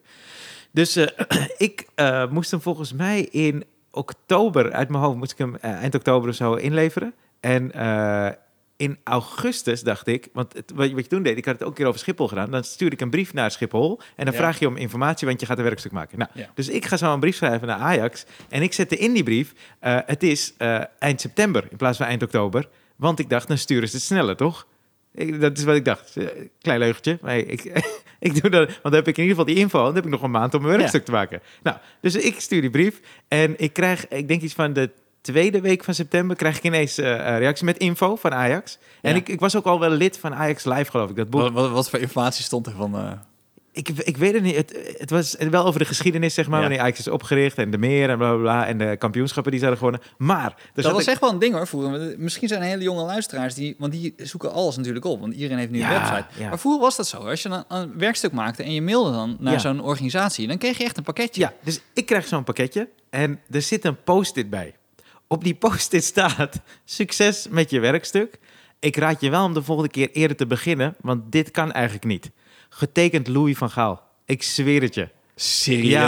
Dus eh, [clears throat] ik eh, moest hem volgens mij in oktober, uit mijn hoofd moest ik hem eh, eind oktober of zo inleveren. En eh, in augustus dacht ik, want het, wat, je- wat je toen deed, ik had het ook een keer over Schiphol gedaan. Dan stuur ik een brief naar Schiphol en dan Ja. vraag je om informatie, want je gaat een werkstuk maken. Nou, Ja. Dus ik ga zo een brief schrijven naar Ajax en ik zette in die brief, eh, het is eh, eind september in plaats van eind oktober. Want ik dacht, dan sturen ze het sneller, toch? Ik- dat is wat ik dacht. Eh, Klein leugentje. Maar ik, [laughs] ik doe dat, want dan heb ik in ieder geval die info. en Dan heb ik nog een maand om mijn werkstuk te maken. Nou, dus ik stuur die brief. En ik krijg, ik denk iets van de tweede week van september... krijg ik ineens eh, een reactie met info van Ajax. En Ja. ik, ik was ook al wel lid van Ajax Live, geloof ik. Dat boek. Wat, wat, wat voor informatie stond er van... eh, Ik, ik weet het niet. Het, het was wel over de geschiedenis, zeg maar. Ja. Wanneer Ajax is opgericht en de meer en bla, bla, bla. En de kampioenschappen die ze hadden gewonnen. Maar... er zat dat een- was echt wel een ding hoor vroeger. Want, eh, Misschien zijn hele jonge luisteraars die, want die zoeken alles natuurlijk op. Want iedereen heeft nu een Ja, website. ja. Maar vroeger was dat zo. Als je dan een werkstuk maakte en je mailde dan naar Ja. zo'n organisatie, dan kreeg je echt een pakketje. Ja, dus ik krijg zo'n pakketje en er zit een post-it bij. Op die post-it [laughs] staat: succes met je werkstuk. Ik raad je wel om de volgende keer eerder te beginnen, want dit kan eigenlijk niet. Getekend Louis van Gaal. Ik zweer het je. Ja, man.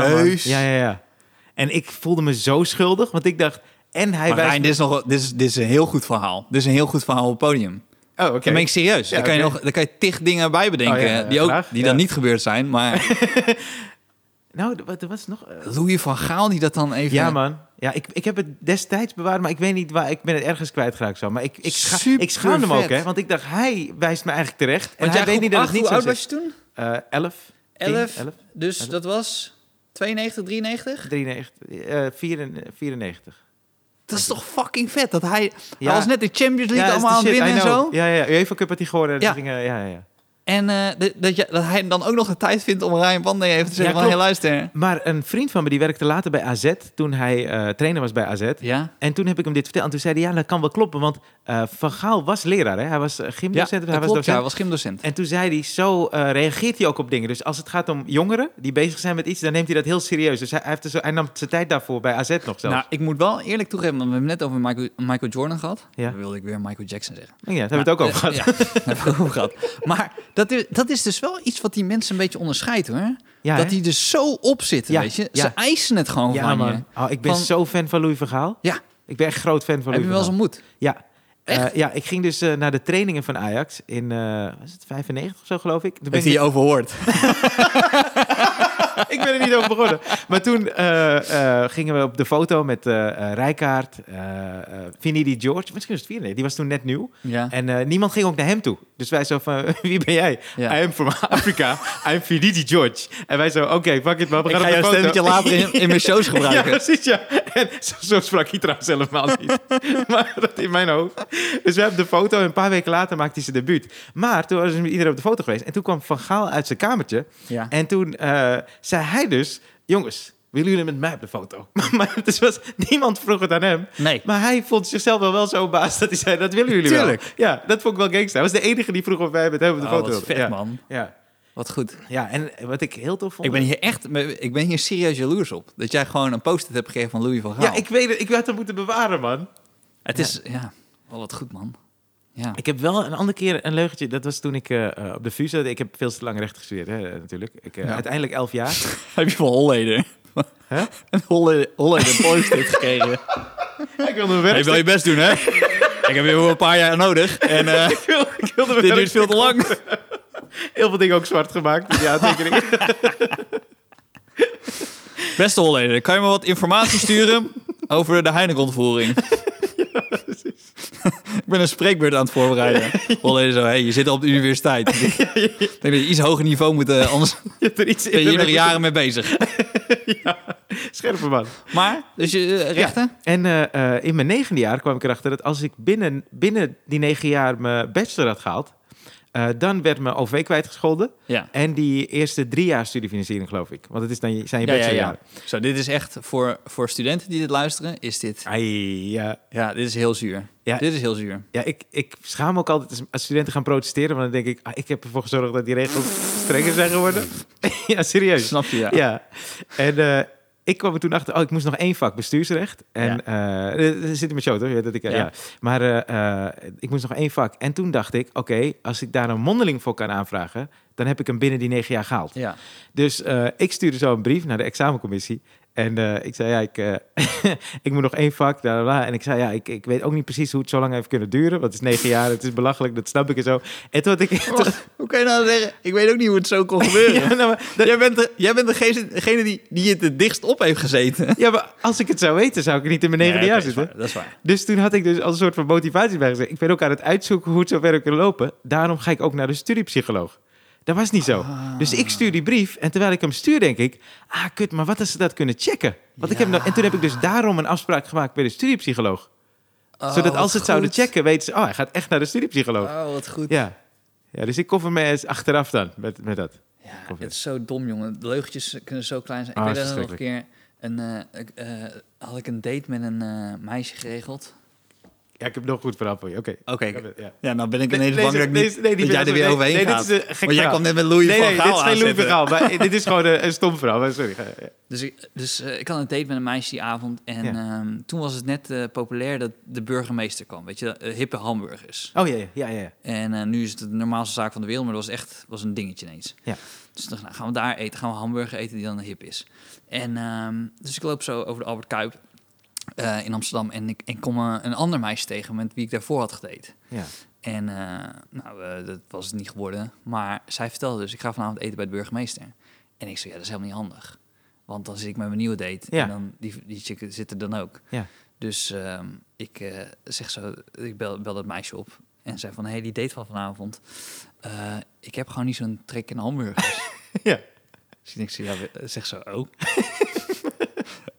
Serieus? Ja, ja, ja. En ik voelde me zo schuldig, want ik dacht: En hij Maar wijst... Rijn, dit is, nog, wel- dit, is, dit is een heel goed verhaal. Dit is een heel goed verhaal op het podium. Oh, oké. Dan ben ik serieus. Ja, dan, kan je oké. nog, dan kan je tig dingen bij bedenken Oh, ja, ja, ja, die, ook, graag. die dan Ja. niet gebeurd zijn. Maar [laughs] Nou, er wa- er was nog... eh, Louis van Gaal die dat dan even... Ja, man. Ja, ik, ik heb het destijds bewaard, maar ik weet niet waar. Ik ben het ergens kwijtgeraakt zo. Maar ik, ik, scha Super ik schaamde hem ook, vet. hè. Want ik dacht, hij wijst me eigenlijk terecht. En Want hij jij weet niet dat het niet hoe zo oud was is. je toen? Eh 11, 10, Elf. 11, Dus Elf. dat was 92, 93? 93, eh, 94. 94. Dat is toch fucking vet. Dat hij, Ja. hij was net de Champions League is allemaal de aan het shit, winnen en I know. zo. Ja, ja, ja. UEFA Cup had hij geworden. Ja. Ja. Ging, eh, ja, ja, ja. En eh, dat, dat, je- dat hij dan ook nog de tijd vindt om Ryan Pandey even te Ja, zeggen van... klopt. Hey, luister. Maar een vriend van me, die werkte later bij AZ, toen hij eh, trainer was bij AZ. Ja. En toen heb ik hem dit verteld. En toen zei hij, ja, dat kan wel kloppen. Want eh, Van Gaal was leraar, hè. Hij was eh, Ja, gymdocent, dat en hij was klopt, docent. ja, hij was gymdocent. En toen zei hij, zo eh, reageert hij ook op dingen. Dus als het gaat om jongeren die bezig zijn met iets, dan neemt hij dat heel serieus. Dus hij, hij heeft er zo, hij nam zijn tijd daarvoor bij AZ nog zelfs. Nou, ik moet wel eerlijk toegeven, want we hebben het net over Michael, Michael Jordan gehad. Ja. Dan wilde ik weer Michael Jackson zeggen. ja, daar hebben we het ook over gehad. Ja, [laughs] daar hebben we het over gehad. Maar dat is, dat is dus wel iets wat die mensen een beetje onderscheidt hoor. Ja, dat hè? die er zo op zitten, Ja, weet je. ja. Ze eisen het gewoon ja van man. je. Oh, ik ben Van- zo fan van Louis van Gaal. Ja, Ik ben echt groot fan van heb Louis je wel van eens Gaal. Ja. ontmoet? Eh, Echt? ja, ik ging dus eh, naar de trainingen van Ajax in, eh was het 95 of zo geloof ik. Toen ben ik, je overhoord? [laughs] ik ben er niet over begonnen. Maar toen eh, eh, gingen we op de foto met eh eh, Rijkaard, eh eh Vinnie George. Misschien was het Vinnie, die was toen net nieuw. Ja. En eh, niemand ging ook naar hem toe. Dus wij zo van, [laughs] wie ben jij? Ja. I am from Africa. I'm Finidi George. En wij zo, oké, fuck it, maar we Ik gaan ga op jouw de foto. stemmetje [laughs] later in, in mijn [laughs] shows gebruiken. Ja, precies, ja. En zo, zo sprak hij trouwens helemaal niet. [laughs] maar dat in mijn hoofd. Dus we hebben de foto en een paar weken later maakte hij zijn debuut. Maar toen was dus met iedereen op de foto geweest. En toen kwam Van Gaal uit zijn kamertje. Ja. En toen eh, zei hij dus, jongens, willen jullie met mij op de foto? [laughs] maar dus was, niemand vroeg het aan hem. Nee. Maar hij vond zichzelf wel, wel zo baas dat hij zei, dat willen jullie Tuurlijk. wel. Ja, dat vond ik wel gangster. Hij was de enige die vroeg of wij met hem op de Oh, foto wat wilden. vet, ja. man. Ja. Wat goed. ja, en wat ik heel tof vond... Ik ben hier echt, ik ben hier serieus jaloers op. Dat jij gewoon een post-it hebt gegeven van Louis van Gaal. Ja, ik weet het. Ik had hem moeten bewaren, man. Het is, ja, wel wat goed man. Ja. Ik heb wel een andere keer een leugentje. Dat was toen ik eh, eh, op de VU zat. Ik heb veel te lang recht gestudeerd, hè, eh, natuurlijk. Ik, eh, Ja. Uiteindelijk elf jaar. Heb je van Holleder? Hè? Een Holleder, Holleder post-it [laughs] gekregen. [laughs] ik wilde mijn werk... je wil je best doen, hè? ik heb hier wel een paar jaar nodig. En [laughs] eh, ik wilde, ik wilde mijn dit werk- duurt veel te lang. Heel veel dingen ook zwart gemaakt. met die [laughs] aantekeningen. Beste Holleder, kan je me wat informatie sturen over [laughs] de Heineken-ontvoering? [laughs] ik ben een spreekbeurt aan het [laughs] voorbereiden. Holleder zo, hey, je zit al op de universiteit. Ik denk dat je iets hoger niveau moet, eh, anders je hebt er iets ben je hier nog in. jaren mee bezig. Scherpe man. Maar, dus je eh, rechten? En eh, eh, in mijn negende jaar kwam ik erachter dat als ik binnen, binnen die negen jaar mijn bachelor had gehaald, eh, dan werd mijn OV kwijtgescholden. Ja. En die eerste drie jaar studiefinanciering, geloof ik. Want dat is dan je, zijn je Ja, ja, bachelorjaar. ja. Zo, dit is echt voor, voor studenten die dit luisteren, is dit... Ai, ja. Ja, dit is heel zuur. Ja. Dit is heel zuur. Ja, ik, ik schaam me ook altijd als- als studenten gaan protesteren. Want dan denk ik, ah, ik heb ervoor gezorgd dat die regels [laughs] strenger zijn geworden. [laughs] ja, serieus. Snap je? Ja. Ja. En eh, ik kwam er toen achter, oh, ik moest nog één vak bestuursrecht. En eh, eh, zit in mijn show, toch? Ja, dat ik, eh, Ja. ja. Maar eh, eh, ik moest nog één vak. En toen dacht ik, oké, als ik daar een mondeling voor kan aanvragen, dan heb ik hem binnen die negen jaar gehaald. Ja. Dus eh, ik stuurde zo een brief naar de examencommissie. En eh, ik zei, ja, ik, eh, [laughs] ik moet nog één vak. bla, bla, bla. En ik zei, ja, ik, ik weet ook niet precies hoe het zo lang heeft kunnen duren. Want het is negen jaar, het is belachelijk, dat snap ik en zo. En toen had ik... toen- Hoe kan je nou zeggen, ik weet ook niet hoe het zo [laughs] kon gebeuren. [laughs] ja, nou, maar, dat- Jij bent, de, jij bent degene, degene die, die het het dichtst op heeft [laughs] gezeten. ja, maar als ik het zou weten, zou ik niet in mijn negende Nee, jaar dat is zitten. waar, Dat is waar. Dus toen had ik dus als een soort van motivatie bij gezegd... ik ben ook aan het uitzoeken hoe het zo verder kan lopen. Daarom ga ik ook naar de studiepsycholoog. Dat was niet zo. Dus ik stuur die brief en terwijl ik hem stuur denk ik... ah, kut, maar wat als ze dat kunnen checken? Want ik heb nou, en toen heb ik dus daarom een afspraak gemaakt bij de studiepsycholoog. Oh, Zodat als ze het zouden checken, weten ze... oh, hij gaat echt naar de studiepsycholoog. Oh, wat goed. Ja. ja, dus ik koffer me eens achteraf dan met, met dat. Ja, Of het is zo dom, jongen. De leugentjes kunnen zo klein zijn. Ah, ik het weet is dat nog een keer... Een, eh, ik, eh, had ik een date met een eh, meisje geregeld. Ja, ik heb nog een goed verhaal voor je. Oké. Oké. Ja. Ja, nou ben ik Nee, ineens deze- bang dat, ik niet, deze- nee, die dat jij er vind ik weer wel- overheen nee, dit gaat. is een gek Want jij verhaal. kwam net met Louis Nee, van nee, dit Gaal is geen Louis aanzetten. verhaal. Maar [laughs] dit is gewoon een, een stom verhaal. Maar sorry. ga- ja. Dus ik, dus, eh, ik had een date met een meisje die avond. En Ja. ehm, toen was het net eh, populair dat de burgemeester kwam. Weet je, eh, hippe hamburgers. Oh, ja, ja, ja. ja, ja. En eh, nu is het de normaalste zaak van de wereld, maar dat was echt was een dingetje ineens. Ja. Dus dan gaan we daar eten, gaan we hamburger eten die dan hip is. En ehm, dus ik loop zo over de Albert Kuip. eh, in Amsterdam. En ik en kom eh, een ander meisje tegen met wie ik daarvoor had gedate. Ja. En eh, nou, eh, dat was het niet geworden. Maar zij vertelde dus, ik ga vanavond eten bij de burgemeester. En ik zei, ja, dat is helemaal niet handig. Want dan zit ik met mijn nieuwe date. Ja. En dan, die, die chick zit er dan ook. Ja. Dus ehm, ik eh, zeg zo, ik bel, bel dat meisje op. En zei van, hé, hey, die date van vanavond. eh, ik heb gewoon niet zo'n trek in hamburgers. Ja. Dus ik zeg, ja, we- zeg zo, [laughs] oh.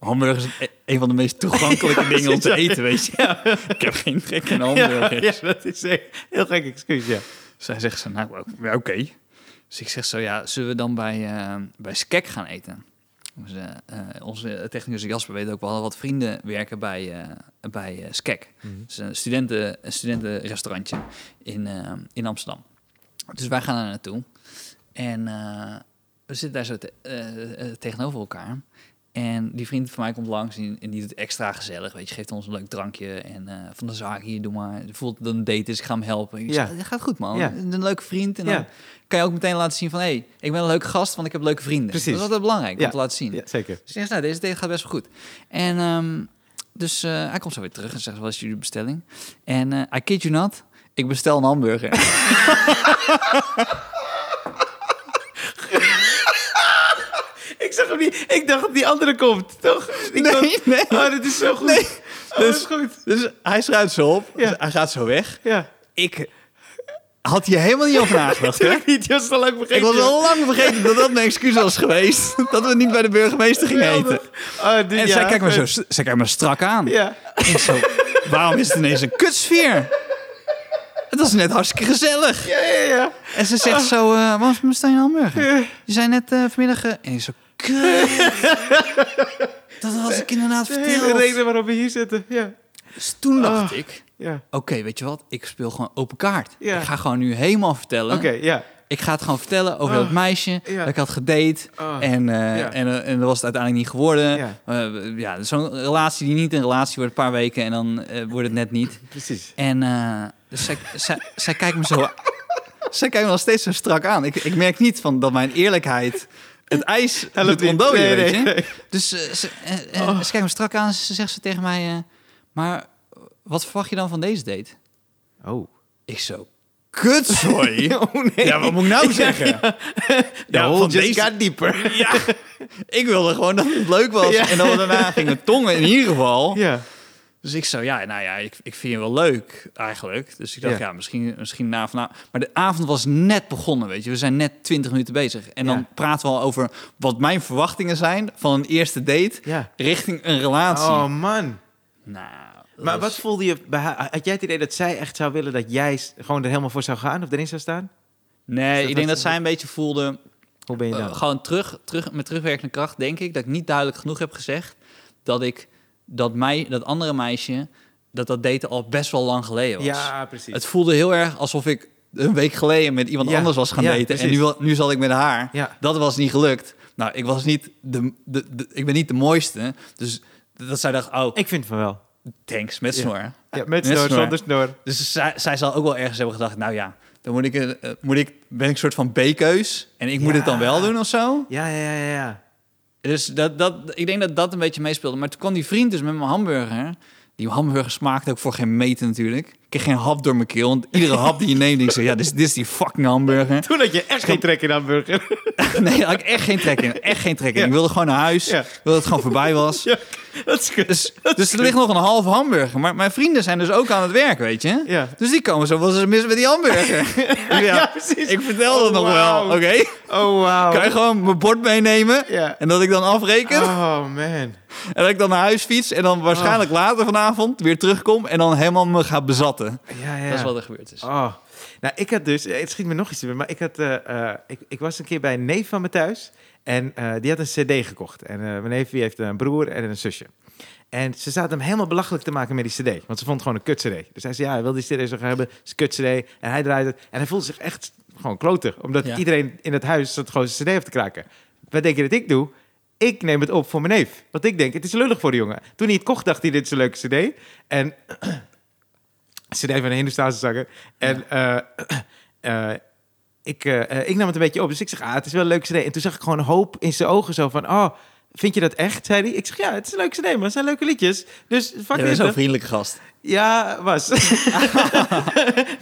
hamburgers is e- een van de meest toegankelijke dingen om te precies, [laughs] ja. eten, weet je. [laughs] Ik heb geen trek in Ja, [laughs] hamburgers. ja, dat is een heel gek excuus, ja. Zij zegt zo, nou, ook- ja, oké. Dus ik zeg zo, ja, zullen we dan bij, eh, bij Skek gaan eten? Dus, eh, eh, onze technicus Jasper weet ook wel wat vrienden werken bij, eh bij eh, Skek. Het is een, studenten, een studentenrestaurantje in, eh, in Amsterdam. Dus wij gaan daar naartoe. En eh, we zitten daar zo te- eh, eh, tegenover elkaar. En die vriend van mij komt langs en, en die doet extra gezellig. Weet je, geeft ons een leuk drankje. En eh, van de zaak hier, doe maar. Voelt dat het een date is, ik ga hem helpen. Ik Ja. zeg, dat gaat goed, man. Ja. Het is Een leuke vriend. En dan Ja. kan je ook meteen laten zien van... hé, hey, ik ben een leuke gast, want ik heb leuke vrienden. Precies. Dat is altijd belangrijk om Ja. te laten zien. Ja, zeker. Dus ik zeg, nou, deze date gaat best wel goed. En ehm, dus eh, hij komt zo weer terug en zegt, wat is jullie bestelling? En eh, I kid you not, ik bestel een hamburger. Ik zag hem niet. Ik dacht dat die andere komt, toch? Ik dacht- nee. Oh, dit is zo goed. Oh, dat is goed. [laughs] Dus hij schrijft zo op, dus Ja. hij gaat zo weg. Ja. Ik had hier helemaal niet over [laughs] nagedacht, [laughs] hè? Tuurlijk niet, je was het al lang Ik vergeten. was al lang vergeten dat dat mijn excuus was geweest. [laughs] Dat we niet bij de burgemeester gingen eten. Oh, dit, ja. En zij kijkt me zo zij kijkt me strak aan. Ja. Ik zo, waarom is het ineens een kutsfeer? Het was net hartstikke gezellig. Ja, ja, ja. En ze zegt zo, eh waarom bestel je een hamburger? Je zei net eh, vanmiddag... eh, en ik zo, kut. Dat was ik inderdaad De hele verteld. reden waarom we hier zitten. Ja. Dus toen dacht Ah. ik, Ja. oké, weet je wat? Ik speel gewoon open kaart. Ja. Ik ga gewoon nu helemaal vertellen. Oké, ja. Ik ga het gewoon vertellen over dat Ah. meisje Ja. dat ik had gedate. Ah. En, eh, Ja. en, eh, en dat was het uiteindelijk niet geworden. Ja. Eh, ja, zo'n relatie die niet een relatie wordt, een paar weken en dan eh, wordt het net niet. Precies. En eh, dus zij, zij, zij kijkt me zo... zij kijkt me nog steeds zo strak aan. Ik, ik merk niet van dat mijn eerlijkheid het [laughs] ijs doet niet. ontdooien, Nee, weet je. nee, Oh. nee. Dus eh, ze, eh, eh, ze kijkt me strak aan en ze zegt ze tegen mij... eh, maar wat verwacht je dan van deze date? [laughs] Oh. Ik zo... Kutzooi! [laughs] Ja, wat moet ik nou zeggen? Ja, De hole van just deze- got deeper. ja, ik wilde gewoon dat het leuk was. Ja. En dan daarna gingen tongen in ieder geval. Ja. Dus ik zo, ja, nou ja, ik, ik vind je wel leuk eigenlijk. Dus ik dacht, Ja. ja, misschien, misschien na vanavond. Maar de avond was net begonnen, weet je. We zijn net 20 minuten bezig. En dan Ja. praten we al over wat mijn verwachtingen zijn van een eerste date Ja. richting een relatie. Oh, man. Nou, dat Maar was- wat voelde je... bij haar? Had jij het idee dat zij echt zou willen dat jij s- gewoon er helemaal voor zou gaan of erin zou staan? Nee, dat ik denk wat- nou. dat zij een beetje voelde, Hoe ben je eh, dan? gewoon terug, terug, met terugwerkende kracht, denk ik, dat ik niet duidelijk genoeg heb gezegd dat ik dat, mij, dat andere meisje, dat dat daten al best wel lang geleden was. ja, precies. Het voelde heel erg alsof ik een week geleden met iemand Ja, anders was gaan ja, daten. En precies. nu, wa- nu zat ik met haar. Ja. Dat was niet gelukt. Nou, ik was niet de, de, de- ik ben niet de mooiste. Dus dat zij dacht, oh, Ik vind van wel. thanks, met Ja. snor. Ja, met Net snor, snor. zonder snor. Dus zij, zij zal ook wel ergens hebben gedacht, nou ja, dan moet ik, een- eh, moet ik, ben ik een soort van B-keus. En ik moet Ja. het dan wel doen of zo. Ja, ja, ja, ja. Dus dat, dat, ik denk dat dat een beetje meespeelde. Maar toen kwam die vriend dus met mijn hamburger. Die hamburger smaakte ook voor geen meter natuurlijk. Ik kreeg geen hap door mijn keel. Want iedere hap die je neemt, denk ik zo... Ja, dit is, dit is die fucking hamburger. Toen had je echt geen trek in hamburger. [laughs] Nee, daar had ik echt geen trek in. Echt geen trek in. Ja. Ik wilde gewoon naar huis. Ja. Ik wilde dat het gewoon voorbij was. Ja, [laughs] [laughs] dat is kut. Dus, dus er ligt nog een halve hamburger. Maar mijn vrienden zijn dus ook aan het werk, weet je. Ja. Dus die komen zo, wat is er mis met die [laughs] hamburger? ja, precies. Ik vertel dat Oh, nog wel, wauw. oké? Oh, wauw. Kan je gewoon mijn bord meenemen? Ja. En dat ik dan afreken? Oh, man. En dat ik dan naar huis fiets en dan waarschijnlijk later vanavond weer terugkom en dan helemaal me ga bezatten. Ja, ja. Dat is wat er gebeurd is. Oh. Nou, ik had dus, eh, het schiet me nog iets te binnen, maar ik had, eh, eh, ik, ik was een keer bij een neef van me thuis en eh, die had een cd gekocht. En eh, mijn neef die heeft een broer en een zusje. En ze zaten hem helemaal belachelijk te maken met die cd, want ze vond het gewoon een kut cd. Dus hij zei, ja, hij wil die cd zo gaan hebben, het is een kut cd. En hij draaide het en hij voelde zich echt gewoon klotig, omdat Ja. iedereen in het huis zat gewoon zijn cd af te kraken. Wat denk je dat ik doe? Ik neem het op voor mijn neef. Want ik denk, het is lullig voor de jongen. Toen hij het kocht, dacht hij, dit is een leuke cd. En [clears throat] CD van een Hindoestaanse zanger. En eh, [clears throat] eh, ik, eh, eh, ik nam het een beetje op. Dus ik zeg, ah, het is wel een leuke CD. En toen zag ik gewoon hoop in zijn ogen zo van, oh, Vind je dat echt? Zei hij. Ik zeg, ja, het is een leuk cd, maar het zijn leuke liedjes. Dus fuck Je bent it. zo'n vriendelijk gast. Ja, [laughs] was.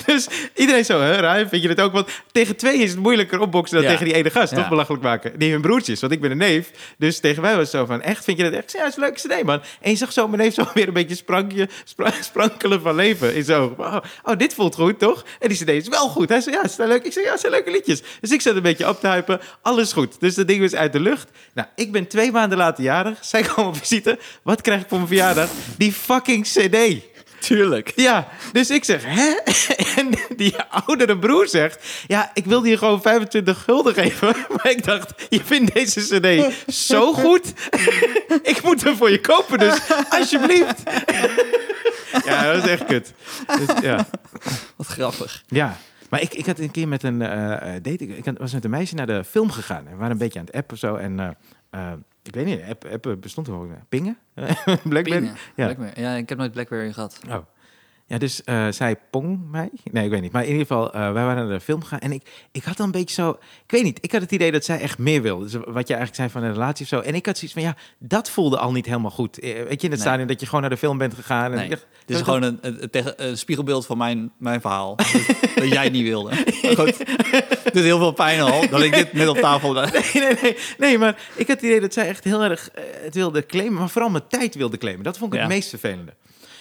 dus iedereen zo, hè, Ryan, vind je dat ook? Want tegen twee is het moeilijker opboksen dan Ja. tegen die ene gast. Toch Ja. belachelijk maken. Die hun broertjes, want ik ben een neef. Dus tegen mij was het zo van, echt, vind je dat echt? Ik zei, Ja, het is een leuke cd, man. En je zag zo mijn neef zo [laughs] weer een beetje sprankje, spra- sprankelen van leven. En zo, oh, oh, dit voelt goed, toch? En die cd is wel goed. Hij zei, ja, het zijn leuk. Ik zei, ja, het zijn leuke liedjes. Dus ik zat een beetje op te hypen. Alles goed. Dus dat ding was uit de lucht. Nou, ik ben twee maanden later jarig. Zij komen op visite. Wat krijg ik voor mijn verjaardag? Die fucking cd. Tuurlijk. Ja, dus ik zeg, hè? [laughs] En die oudere broer zegt, ja, ik wilde je gewoon 25 gulden geven. [laughs] Maar ik dacht, je vindt deze cd zo goed. [laughs] Ik moet hem voor je kopen, dus alsjeblieft. [laughs] Ja, dat is echt kut. Dus, ja. Wat grappig. ja. Maar ik, ik had een keer met een eh, eh, date, ik had- was met een meisje naar de film gegaan. En we waren een beetje aan het appen of zo. En eh, eh, ik weet niet, app, appen bestond er ook. Pingen? [laughs] Blackberry? Pingen. Ja. Blackberry. Ja, ik heb nooit Blackberry gehad. Oh. Ja, dus eh, zij pong mij. Nee, ik weet niet. Maar in ieder geval, eh, wij waren naar de film gegaan. En ik, ik had dan een beetje zo... Ik weet niet, ik had het idee dat zij echt meer wilde. Dus wat je eigenlijk zei van een relatie of zo. En ik had zoiets van, ja, dat voelde al niet helemaal goed. Eh, weet je, in het stadion dat je gewoon naar de film bent gegaan. En Nee. ik dacht, Dit is dat- gewoon een, een, een tegen- een spiegelbeeld van mijn, mijn verhaal. [laughs] dat, dat jij het niet wilde. Maar goed, het doet heel veel pijn al dat ik dit net op tafel... Nee, nee, nee, nee, maar ik had het idee dat zij echt heel erg eh, het wilde claimen, maar vooral mijn tijd wilde claimen. Dat vond ik Ja. het meest vervelende.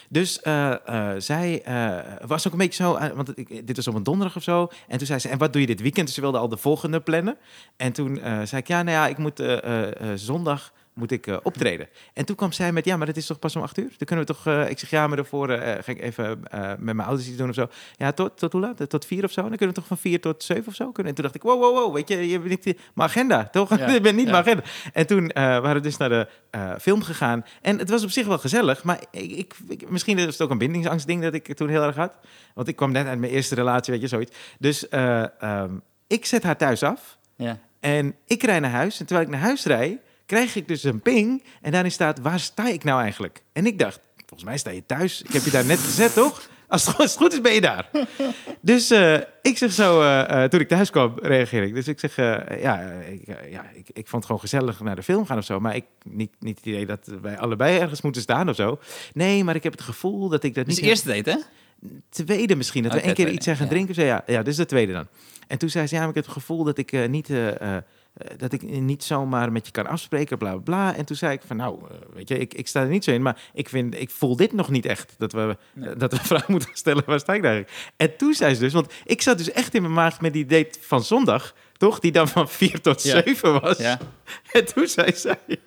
Dus eh, eh, zij eh, was ook een beetje zo, aan- want ik, dit was op een donderdag of zo. En toen zei ze, en wat doe je dit weekend? Dus ze wilde al de volgende plannen. En toen eh, zei ik, ja, nou ja, ik moet eh, eh, eh, zondag moet ik eh, optreden. En toen kwam zij met, ja, maar dat is toch pas om acht uur? Dan kunnen we toch, eh, ik zeg, ja, maar daarvoor eh, ga ik even eh, met mijn ouders iets doen of zo. Ja, tot, tot hoe laat? Tot vier of zo? Dan kunnen we toch van vier tot zeven of zo kunnen? En toen dacht ik, wow, wow, wow, weet je, je bent niet eh, mijn agenda, toch? [laughs] Ja, ik ben niet ja. mijn agenda. En toen eh, waren we dus naar de eh, film gegaan. En het was op zich wel gezellig, maar ik, ik, ik- misschien is het ook een bindingsangstding dat ik toen heel erg had. Want ik kwam net uit mijn eerste relatie, weet je, zoiets. Dus eh, ehm, ik zet haar thuis af. Ja. En ik rij naar huis. En terwijl ik naar huis rijd, krijg ik dus een ping. En daarin staat, waar sta ik nou eigenlijk? En ik dacht, volgens mij sta je thuis. Ik heb je daar net gezet, toch? Als het, go- als het goed is, ben je daar. Dus eh, ik zeg zo, eh, eh, toen ik thuis kwam, reageer ik. Dus ik zeg, eh, ja, eh, ik, eh, ja ik, ik vond het gewoon gezellig naar de film gaan of zo. Maar ik niet, niet het idee dat wij allebei ergens moeten staan of zo. Nee, maar ik heb het gevoel dat ik dat Dus niet... de eerste date, hè? tweede misschien. Dat Oké, we één keer tweede, iets zijn gaan ja. drinken. Zei, ja, ja, dit is de tweede dan. En toen zei ze, ja, maar ik heb het gevoel dat ik eh, niet... eh, eh, eh, dat ik niet zomaar met je kan afspreken, bla bla bla. En toen zei ik van, nou, eh, weet je, ik, ik sta er niet zo in, maar ik, vind, ik voel dit nog niet echt. Dat we, eh, dat we [laughs] vraag moeten stellen, waar sta ik daar eigenlijk? En toen zei ze dus, want ik zat dus echt in mijn maag met die date van zondag, toch? Die dan van 4 tot Ja. 7 was. Ja. [laughs] En toen zei zij... [laughs]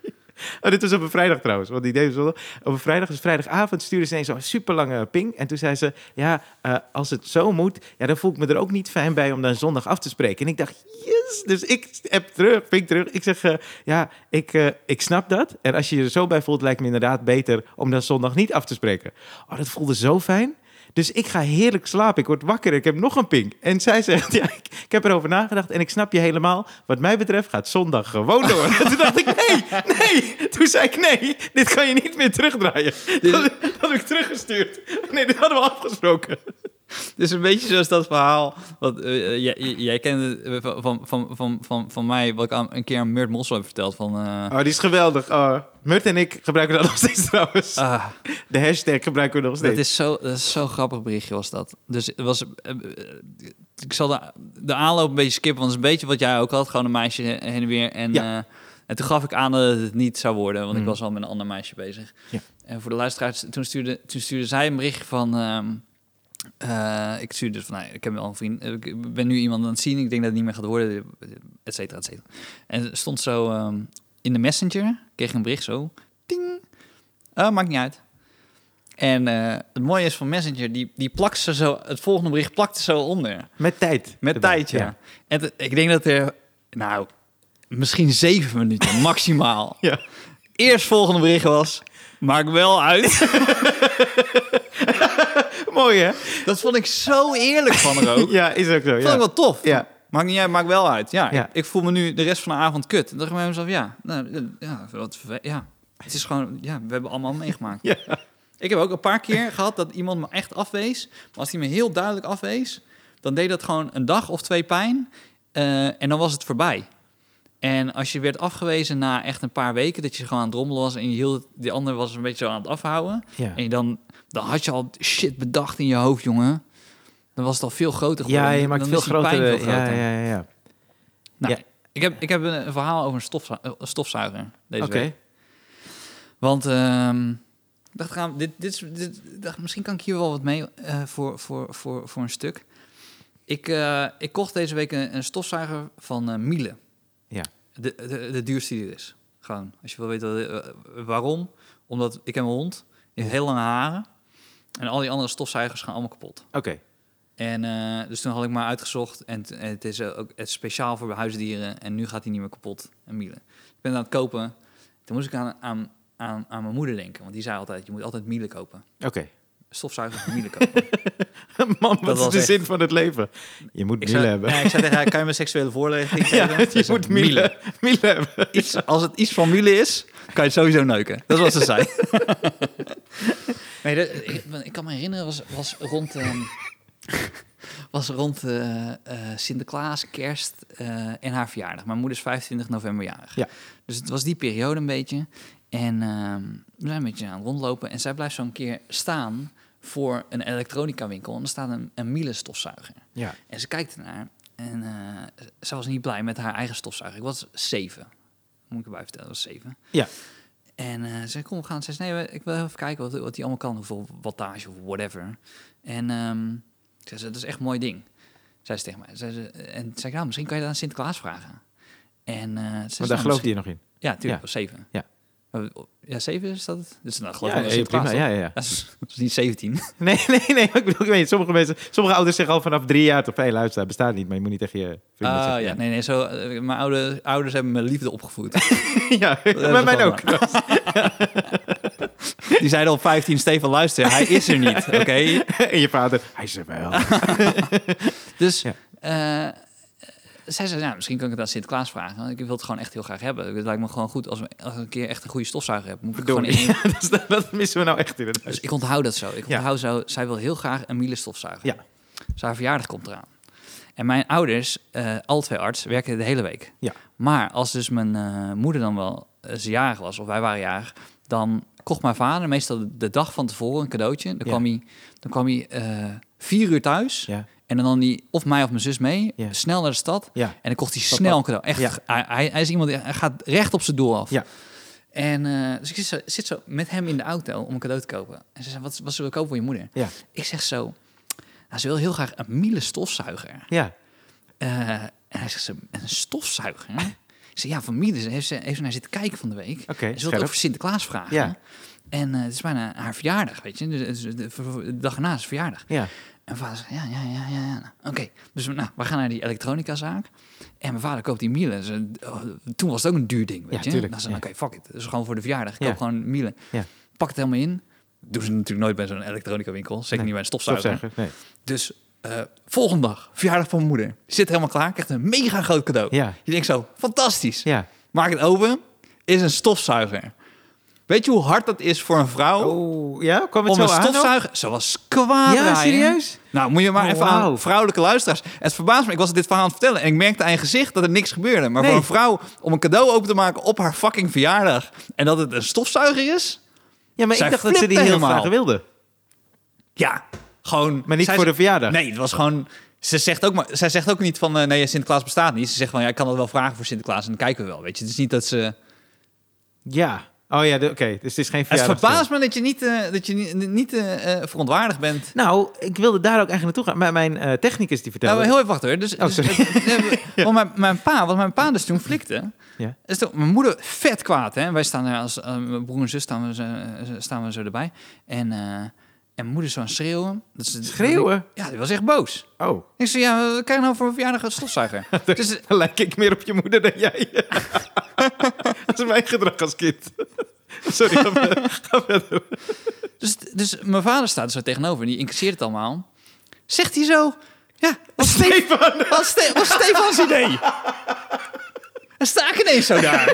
Oh, dit was op een vrijdag trouwens, want die deed ze wel. Op een vrijdag, dus vrijdagavond, stuurde ze ineens zo'n superlange ping. En toen zei ze, ja, eh, als het zo moet, ja, dan voel ik me er ook niet fijn bij om dan zondag af te spreken. En ik dacht, yes! Dus ik app terug, ping terug. Ik zeg, eh, ja, ik, eh, ik snap dat. En als je je er zo bij voelt, lijkt me inderdaad beter om dan zondag niet af te spreken. Oh, dat voelde zo fijn. Dus ik ga heerlijk slapen. Ik word wakker. Ik heb nog een ping. En zij zegt, ja, ik, ik heb erover nagedacht en ik snap je helemaal. Wat mij betreft gaat zondag gewoon door. [laughs] En toen dacht ik, nee, nee. Toen zei ik, nee, dit kan je niet meer [laughs] terugdraaien. Dat, dat heb ik teruggestuurd. Nee, dit hadden we afgesproken. Dus een beetje zoals dat verhaal. Wat, eh, eh, jij, jij- jij kende eh, van, van, van, van, van, van mij, wat ik aan- een keer aan Murt Mossel heb verteld. Van, eh, Oh, die is geweldig. Oh, Murt en ik gebruiken dat nog steeds trouwens. ah, De hashtag gebruiken we nog steeds. dat is zo, dat is zo'n grappig berichtje was dat. Dus het was, eh, eh, ik zal de, de aanloop een beetje skippen, want het is een beetje wat jij ook had. Gewoon een meisje heen en weer. En, Ja. eh, en toen gaf ik aan dat het niet zou worden, want ik Mm. was al met een ander meisje bezig. Ja. En voor de luisteraars, toen stuurde, toen stuurde zij een berichtje van... ehm, eh, ik stuurde dus van, nou, ik heb wel een vriend, eh, ik ben nu iemand aan het zien, ik denk dat het niet meer gaat worden, et cetera, et cetera. En het stond zo ehm, in de messenger, kreeg ik een bericht zo, ting, Eh, maakt niet uit. En eh, het mooie is van messenger, die, die plakt ze zo, het volgende bericht plakt ze zo onder. Met tijd. Met Erbij. tijd, ja. En t- ik denk dat er, nou, misschien zeven [laughs] minuten maximaal. Ja. Eerst volgende bericht was, maakt [laughs] wel uit. Mooi, hè? dat vond ik zo eerlijk van haar ook. Ja, is ook zo. Vond ik Ja. wel tof. Ja. Maakt niet uit, maakt wel uit. Ja, Ja. Ik, ik voel me nu de rest van de avond kut. Dan dacht ik bij mezelf, ja, nou, ja, wat, verwe- ja, het is gewoon, ja, we hebben allemaal meegemaakt. [laughs] Ja. Ik heb ook een paar keer gehad dat iemand me echt afwees. Maar als hij me heel duidelijk afwees, dan deed dat gewoon een dag of twee pijn. eh, en dan was het voorbij. En als je werd afgewezen na echt een paar weken, dat je gewoon aan het rommelen was en je hield, die ander was een beetje zo aan het afhouden. Ja. En je dan, dan had je al shit bedacht in je hoofd, jongen. Dan was het al veel groter geworden. Ja, je Dan maakt is veel die pijn grotere... veel groter. Ja, ja, ja. ja. Nou, Ja. Ik, heb, ik heb een een verhaal over een stofzu- eh, stofzuiger deze Oké. week. Want ehm, ik dacht, gaan, dit, dit, is- dit, ik dacht, misschien kan ik hier wel wat mee eh, voor, voor, voor, voor een stuk. Ik, eh, ik kocht deze week een, een stofzuiger van eh, Miele. Ja. De, de, de duurste die er is. Gewoon, als je wil weten wat- eh, waarom. Omdat ik heb een hond, die heeft heel lange haren. En al die andere stofzuigers gaan allemaal kapot. Oké. En eh, dus toen had ik maar uitgezocht. En, t- en het is eh, ook het is speciaal voor huisdieren. En nu gaat hij niet meer kapot. Een Miele. Ik ben het aan het kopen. Toen moest ik aan, aan, aan, aan mijn moeder denken. Want die zei altijd, je moet altijd Miele kopen. Oké. Stofzuiger van Miele [laughs] kopen. Man, wat is was de echt- zin van het leven? Je moet ik, Miele zei, hebben. [laughs] nee, ik zei tegen haar, kan je me [laughs] seksuele voorlichting Ja, geven? Ze je zei, moet Miele, Miele hebben. Iets, als het iets van Miele is, kan je het sowieso neuken. Dat is wat ze zei. [laughs] nee, dat- ik, ik kan me herinneren, was, was rond... ehm, was rond eh, eh, Sinterklaas, kerst eh, en haar verjaardag. Mijn moeder is 25 november jarig. Ja. Dus het was die periode een beetje. En ehm, we zijn een beetje aan het rondlopen. En zij blijft zo'n keer staan voor een elektronica winkel. En er staat een, een Miele stofzuiger. Ja. En ze kijkt ernaar. En eh, ze was niet blij met haar eigen stofzuiger. Ik was zeven. Moet ik erbij vertellen, dat was zeven. Ja. En eh, ze zei, kom, we gaan. Ze zei, nee, ik wil even kijken wat, wat die allemaal kan. Hoeveel wattage of whatever. En ehm ik zei, dat is echt een mooi ding. Zei ze tegen mij. Zei ze, en toen zei ik, nou, misschien kan je dat aan Sinterklaas vragen. En, eh, ze Maar zei, daar nou, gelooft hij nog in. ja, tuurlijk, Ja. was zeven. Ja. Maar, Ja, zeven is dat het? Dus dan geloof Ja, ik wel ja, prima. Sinterklaas, toch? Ja, ja, ja. [laughs] Dat is, dat is niet 17. [laughs] Nee, nee, nee. maar Ik bedoel, ik weet, sommige, mensen, sommige ouders zeggen al vanaf drie jaar... toch, hey, luister, het bestaat niet, maar je moet niet tegen je Oh vrienden zeggen. [laughs] ja, nee, nee. Zo, eh, mijn oude, ouders hebben me liefde opgevoed. ja, hebben maar we mijn ook. gewoon. Die zeiden op 15, Stefan, luister, hij is er [laughs] niet, oké? [laughs] en je vader, hij is er [laughs] wel. Dus Ja. eh, zij zei, nou, misschien kan ik het aan Sinterklaas vragen. Want ik wil het gewoon echt heel graag hebben. Het lijkt me gewoon goed als, we, als ik een keer echt een goede stofzuiger heb. Moet ik gewoon Verdorie. in- dat, is- dat missen we nou echt inderdaad. Dus ik onthoud dat zo. Ik Ja. onthoud zo, zij wil heel graag een Miele stofzuiger. Ja. Dus haar verjaardag komt eraan. En mijn ouders, eh alle twee arts, werken de hele week. Ja. Maar als dus mijn eh, moeder dan wel eens jarig was, of wij waren jarig, dan kocht mijn vader meestal de- de dag van tevoren een cadeautje. Dan Ja. kwam hij, dan kwam hij eh, vier uur thuis. Ja. En dan nam hij of mij of mijn zus mee, Ja. snel naar de stad. Ja. En dan kocht hij Dat snel wel. een cadeau. Echt, Ja. hij, hij- hij is iemand die hij gaat recht op zijn doel af. Ja. En eh, dus ik zit zo, zit zo met hem in de auto om een cadeau te kopen. En ze zei, wat, wat zullen we kopen voor je moeder? Ja. Ik zeg zo, nou, ze wil heel graag een Miele stofzuiger. Ja. Eh, en hij zegt, ze, een stofzuiger? [laughs] ik zeg, ja, van Miele. Ze heeft, ze heeft ze naar zitten kijken van de week. Oké, En ze wil scherp. het over Sinterklaas vragen. Ja. En eh, het is bijna haar verjaardag, weet je. Dus, het is de, de dag erna is het verjaardag. Ja. En mijn vader zegt, ja, ja, ja, ja. ja. Nou, Oké, dus we- nou, we gaan naar die elektronicazaak. En mijn vader koopt die Miele. Dus, eh, oh, toen was het ook een duur ding, weet Ja, je. tuurlijk, Dan zei ja. oké, fuck it. Dus gewoon voor de verjaardag. Ik Ja. koop gewoon Miele. Ja. Pak het helemaal in. Doen ze natuurlijk nooit bij zo'n elektronica winkel. Zeker Nee, niet bij een stofzuiger. Stofzuiger. Nee. Dus eh, volgende dag, verjaardag van mijn moeder. Zit helemaal klaar, krijgt een mega groot cadeau. Ja. Je denkt zo, fantastisch. Ja. Maak het open, is een stofzuiger. Weet je hoe hard dat is voor een vrouw? Oh, ja? Kwam het Om zo een aan? ook? stofzuiger, ze was kwaad Ja, Ryan. serieus? Nou, moet je maar Oh, even wauw. aan vrouwelijke luisteraars. Het verbaast me, ik was dit verhaal aan het vertellen... en ik merkte aan je gezicht dat er niks gebeurde. Maar Nee. voor een vrouw om een cadeau open te maken op haar fucking verjaardag... en dat het een stofzuiger is... Ja, maar Zij ik dacht dat ze die flipte heel helemaal. graag wilde. Ja, gewoon... Maar niet Zij voor ze- de verjaardag. Nee, het was gewoon... Ze zegt ook, maar, zij zegt ook niet van, eh, nee, Sinterklaas bestaat niet. Ze zegt van, ja, ik kan dat wel vragen voor Sinterklaas en dan kijken we wel, weet je. Het is niet dat ze... Ja. Oh ja, de- oké. Dus het is geen het verjaardag. verbaast me dat je niet, eh, dat je niet, niet eh, eh, verontwaardigd bent. Nou, ik wilde daar ook eigenlijk naartoe gaan. Maar mijn eh, technicus die vertelde... Nou, heel even wachten hoor. Dus, Oh, dus- sorry. eh, nee, [laughs] we- want mijn, mijn pa, wat mijn pa dus toen flikte... Ja. Is toen, mijn moeder vet kwaad, hè. Wij staan er als eh, mijn broer en zus staan we, zo- eh, staan we zo erbij. En, eh, en mijn moeder zo aan het schreeuwen. Dat ze, Schreeuwen? Ja, die was echt boos. Oh, Ik zei, ja, wat krijg je nou voor een verjaardag een [laughs] stofzuiger? dus, dan lijk ik meer op je moeder dan [laughs] jij. dat is mijn gedrag als kind. Sorry, ga verder. Ga verder. dus, dus mijn vader staat er zo tegenover, die incasseert het allemaal. Zegt hij zo, ja, was, Stefan. [laughs] was, Ste- was Stefans idee? En sta ik ineens zo daar.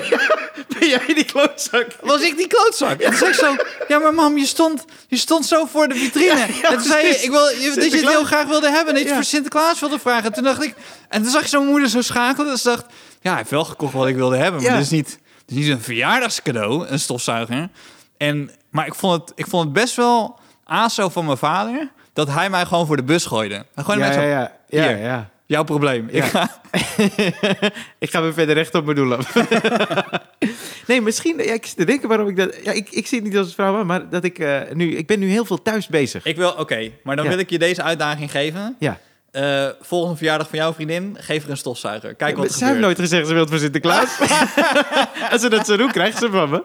ben jij die klootzak? was ik die klootzak. En toen zei ik zo, ja maar mam, je stond, je stond zo voor de vitrine. en toen zei je, precies. ik wil, je- dat je het heel Sinterklaas. graag wilde hebben. En dat je Ja. voor Sinterklaas wilde vragen. En toen dacht ik, en toen zag je zo'n moeder zo schakelen. En ze dacht, ja, hij heeft wel gekocht wat ik wilde hebben. Maar Ja. dit is niet, dit is niet een verjaardagscadeau, een stofzuiger. En, maar ik vond, het, ik vond het best wel aso van mijn vader... dat hij mij gewoon voor de bus gooide. Hij gooide ja, mij zo, ja, ja. ja, Hier. ja. [laughs] jouw probleem. Ik Ja. ga- Ik ga weer verder recht op mijn doel af. [laughs] nee, misschien... Ja, ik zit te denken waarom ik dat... Ja, ik, ik zie het niet als een vrouw, aan, maar dat ik eh, nu... Ik ben nu heel veel thuis bezig. Ik wil, oké, maar dan Ja. wil ik je deze uitdaging geven. Ja. Eh, volgende verjaardag van jouw vriendin, geef er een stofzuiger. Kijk wat er ze heeft gebeurt. nooit gezegd ze wilt voor [laughs] Sinterklaas. Als ze dat zo doen, krijgt ze van me.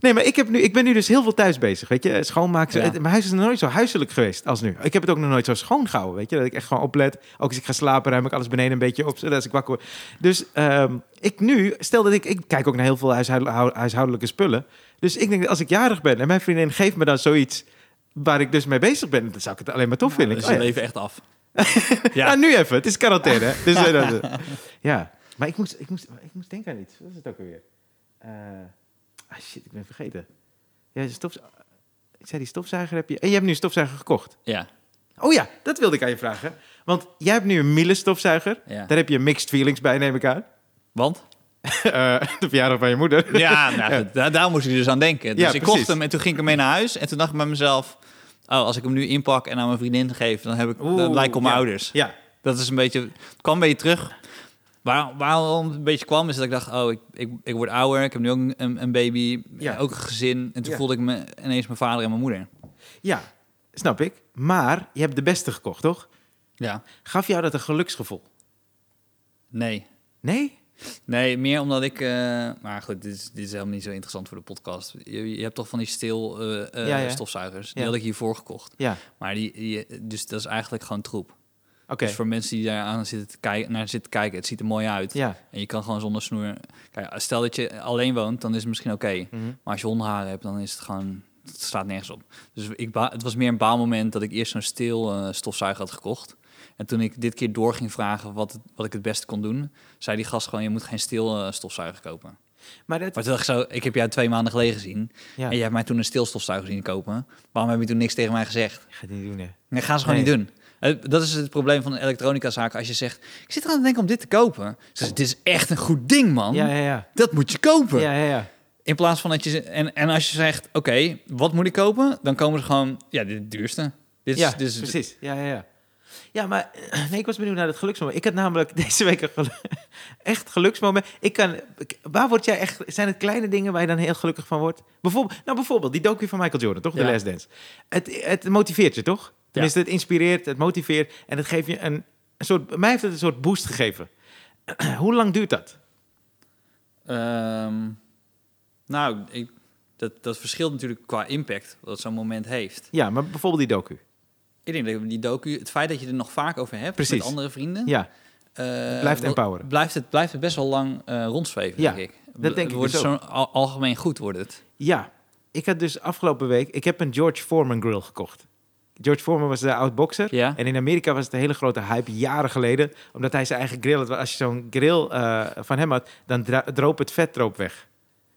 Nee, maar ik, heb nu, ik ben nu dus heel veel thuis bezig, weet je. Schoonmaken. zo- Ja. het- Mijn huis is nog nooit zo huiselijk geweest als nu. Ik heb het ook nog nooit zo schoon gehouden, weet je. Dat ik echt gewoon oplet. Ook als ik ga slapen, ruim ik alles beneden een beetje op. Zodat als ik wakker word. Dus ehm, ik nu, stel dat ik... Ik kijk ook naar heel veel huishoudel- huishoudelijke spullen. Dus ik denk dat als ik jarig ben en mijn vriendin geeft me dan zoiets... waar ik dus mee bezig ben, dan zou ik het alleen maar tof vinden. Dan is Oh je ja. Dus leven echt af. Ja. Ja. Nou, nu even. Het is quarantaine. hè? Dus, eh, dat- eh. ja. Maar ik moest, ik, moest, ik moest denken aan iets. Wat is het ook alweer? Eh, ah shit, ik ben vergeten. Ja, de stofz- ik zei die stofzuiger heb je... En je hebt nu een stofzuiger gekocht. Ja, Oh ja, dat wilde ik aan je vragen. Want jij hebt nu een Miele stofzuiger. ja. Daar heb je mixed feelings bij, neem ik aan. [laughs] Want? Eh, de verjaardag van je moeder. [laughs] Ja, nou, goed, daar, daar moest ik dus aan denken. Dus Ja, ik kocht precies. hem en toen ging ik ermee naar huis. En toen dacht ik bij mezelf, oh, als ik hem nu inpak en aan mijn vriendin geef, dan, heb ik, dan Oeh, lijk ik op mijn ja. ouders. Ja, Dat is een beetje, het kwam een beetje terug. Waar, waarom het een beetje kwam, is dat ik dacht, oh, ik, ik, ik word ouder. Ik heb nu ook een, een baby, Ja. ook een gezin. En toen Ja. voelde ik me ineens mijn vader en mijn moeder. ja, snap ik. Maar je hebt de beste gekocht, toch? Ja. Gaf jou dat een geluksgevoel? Nee. Nee? Nee, meer omdat ik... eh, maar goed, dit is, dit is helemaal niet zo interessant voor de podcast. Je, je hebt toch van die stil eh, eh, Ja, ja. stofzuigers? Die Ja. had ik hiervoor gekocht. Ja, Maar die, die- dus dat is eigenlijk gewoon troep. oké. Dus voor mensen die daar aan zitten te kijken, naar zitten te kijken, het ziet er mooi uit. Ja. En je kan gewoon zonder snoer... Kijk, stel dat je alleen woont, dan is het misschien oké. Mhm. Maar als je hondenharen hebt, dan is het gewoon... Het staat nergens op. Dus ik ba- het was meer een baalmoment dat ik eerst zo'n stil eh, stofzuiger had gekocht. En toen ik dit keer door ging vragen wat, het- wat ik het beste kon doen, zei die gast gewoon, je moet geen stil eh, stofzuiger kopen. Maar dat... Maar toen dacht ik zo, ik heb jou twee maanden geleden gezien. Ja. En jij hebt mij toen een stil stofzuiger zien kopen. Waarom heb je toen niks tegen mij gezegd? Ik ga het niet doen, hè. Nee, gaan ze gewoon Nee. niet doen. Eh, Dat is het probleem van een elektronica-zaak. Als je zegt, ik zit eraan te denken om dit te kopen. Ze zeggen, dit is echt een goed ding, man. Ja, ja, ja. Dat moet je kopen. Ja, ja, ja. In plaats van dat je... ze- En, en als je zegt, oké, wat moet ik kopen? Dan komen ze gewoon, ja, dit is het duurste. Dit is, ja, dit is- precies. Ja, ja, ja. Ja, maar [clears throat] nee, ik was benieuwd naar dat geluksmoment. Ik had namelijk [laughs] deze week een gelu- echt geluksmoment. Ik kan, ik- waar word jij echt, zijn het kleine dingen waar je dan heel gelukkig van wordt? Bijvoorbeeld, nou, bijvoorbeeld die docu van Michael Jordan, toch? De Ja. Last Dance. Het, het motiveert je, toch? Tenminste, het inspireert, het motiveert en het geeft je een, een soort, mij heeft het een soort boost gegeven. [clears throat] Hoe lang duurt dat? Ehm, nou, ik, dat, dat verschilt natuurlijk qua impact wat zo'n moment heeft. Ja, maar bijvoorbeeld die docu. Ik denk dat die docu, het feit dat je er nog vaak over hebt Precies. met andere vrienden... Ja, eh, Blijft wel- empoweren. Blijft het, blijft het best wel lang eh, rondzweven, Ja, denk ik. dat denk ik wordt dus zo'n al- algemeen goed wordt het. Ja, ik had dus afgelopen week... Ik heb een George Foreman grill gekocht. George Foreman was de oud-bokser. Ja. En in Amerika was het een hele grote hype jaren geleden. Omdat hij zijn eigen grill had. Als je zo'n grill eh, van hem had, dan dra- droop het vet droop weg.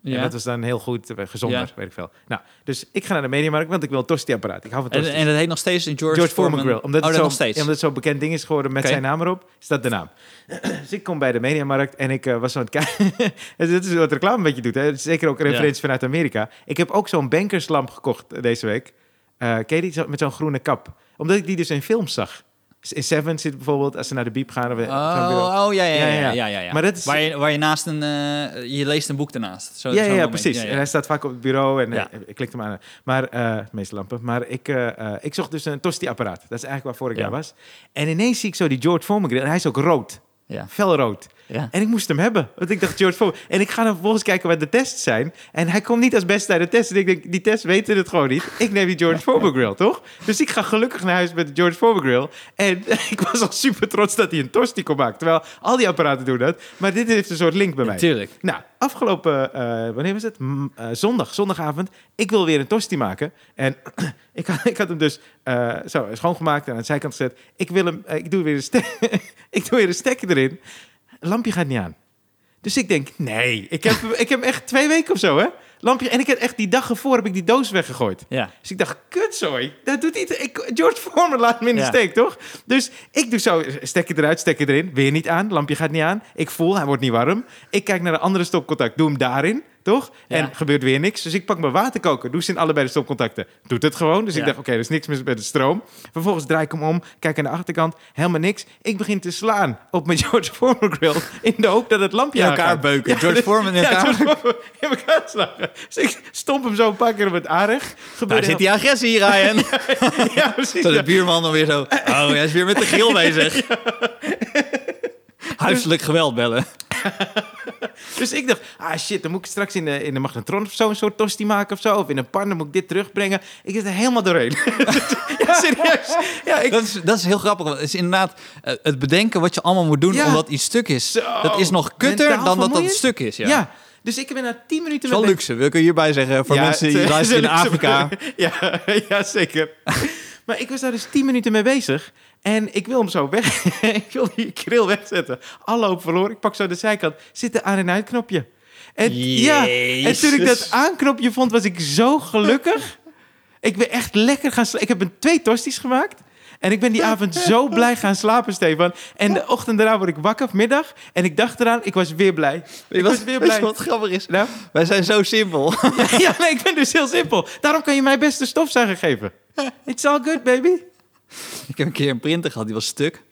En dat was dan heel goed, eh, gezonder, Ja. weet ik veel. Nou, dus ik ga naar de mediamarkt, want ik wil een tosti-apparaat. Ik hou van En, tosti. en dat heet nog steeds een George, George Foreman Grill. Omdat, oh, het dat zo, nog steeds. ja, omdat het zo'n bekend ding is geworden met Oké. zijn naam erop, is dat de naam. [clears throat] dus ik kom bij de Mediamarkt en ik eh, was zo aan het kijken. [laughs] En Dit is wat reclame een beetje doet. Hè? Het is Zeker ook een Ja. referentie vanuit Amerika. Ik heb ook zo'n bankerslamp gekocht eh, deze week. Eh ken je die? Zo- Met zo'n groene kap. Omdat ik die dus in films zag. In Seven zit bijvoorbeeld, als ze naar de biep eh, gaan. Of, Oh, oh ja, ja, ja, Ja, ja, ja, ja, ja. ja, ja. Maar dat is- waar, je, waar je naast een... eh, je leest een boek daarnaast. Zo, ja, zo'n ja, ja, moment. precies. Ja, ja. En hij staat vaak op het bureau en Ja. eh, ik klik hem aan. Maar, eh, de meeste lampen. Maar ik, eh, eh, ik zocht dus een tosti-apparaat. Dat is eigenlijk waarvoor ik Ja. daar was. En ineens zie ik zo die George Foreman grill. En hij is ook rood. Ja. Felrood. Ja. En ik moest hem hebben. Want ik dacht, George Foreman. En ik ga dan vervolgens kijken wat de tests zijn. En hij komt niet als beste uit de test. En ik denk, die tests weten het gewoon niet. Ik neem die [laughs] George Foreman grill, toch? Dus ik ga gelukkig naar huis met de George Foreman grill. En [laughs] ik was al super trots dat hij een tosti kon maken. Terwijl al die apparaten doen dat. Maar dit heeft een soort link bij mij. Tuurlijk. Nou, afgelopen, eh, wanneer was het? M- eh, zondag, zondagavond. Ik wil weer een tosti maken. En [clears throat] ik, had, ik had hem dus eh, zo schoongemaakt en aan de zijkant gezet. [laughs] Ik, wil hem, eh, ik, doe weer een ste- ik doe weer een stekker erin. Lampje gaat niet aan. Dus ik denk, nee, ik heb, ik heb echt twee weken of zo, hè? Lampje. En ik heb echt die dag ervoor heb ik die doos weggegooid. Ja. Dus ik dacht, kutzooi, dat doet iets. Ik, George Foreman laat me in de Ja. steek, toch? Dus ik doe zo, stek je eruit, stek je erin. Weer niet aan, lampje gaat niet aan. Ik voel, hij wordt niet warm. Ik kijk naar de andere stopcontact, doe hem daarin, toch? Ja. En gebeurt weer niks. Dus ik pak mijn waterkoker, doe ze in allebei de stopcontacten. Doet het gewoon. Dus Ja. ik dacht, oké, er is niks mis met de stroom. Vervolgens draai ik hem om, kijk aan de achterkant, helemaal niks. Ik begin te slaan op mijn [laughs] George Foreman grill in de hoop dat het lampje In elkaar aangaat. beuken. George dus- Foreman in elkaar. [laughs] Ja, George Foreman in elkaar slagen. Dus ik stomp hem zo een paar keer op het aanrecht. Daar Gebeurde zit die agressie hier, [laughs] Ryan. [laughs] heel- Ja, precies. Zo ja. de buurman dan weer zo. Oh, hij is weer met de [laughs] grill bezig. Huiselijk geweld bellen. Dus ik dacht, ah shit, dan moet ik straks in de, in de magnetron of zo een soort tosti maken of zo. Of in een pan, dan moet ik dit terugbrengen. Ik zit er helemaal doorheen. [laughs] ja, serieus. Ja, [laughs] ik... Dat is, dat is heel grappig. want Het is inderdaad eh, het bedenken wat je allemaal moet doen Ja. omdat iets stuk is. Zo. Dat is nog kutter Mentaal dan dat dat vermoeiend. stuk is. Ja. ja. dus ik ben na tien minuten... Het is wel met- luxe, wil ik er hierbij zeggen. Voor Ja, [laughs] mensen die het- luisteren in het is een luxe- Afrika. [laughs] ja, ja, zeker. [laughs] maar ik was daar dus tien minuten mee bezig. En ik wil hem zo weg. [laughs] ik wil die grill wegzetten. Alle hoop verloren. Ik pak zo de zijkant. Zit er aan- en uitknopje. En, ja, en toen ik dat Jezus. aanknopje vond, was ik zo gelukkig. ik ben echt lekker gaan slapen. Ik heb een twee tosties gemaakt. En ik ben die [laughs] avond zo blij gaan slapen, Stefan. En de ochtend daarna word ik wakker, of middag. En ik dacht eraan, ik was weer blij. Ik was weer [laughs] weet je blij. wat grappig is? Nou? Wij zijn zo simpel. [laughs] ja, nee, ik ben dus heel simpel. Daarom kan je mij best een stofzuiger [laughs] geven. It's all good, baby. Ik heb een keer een printer gehad, die was stuk.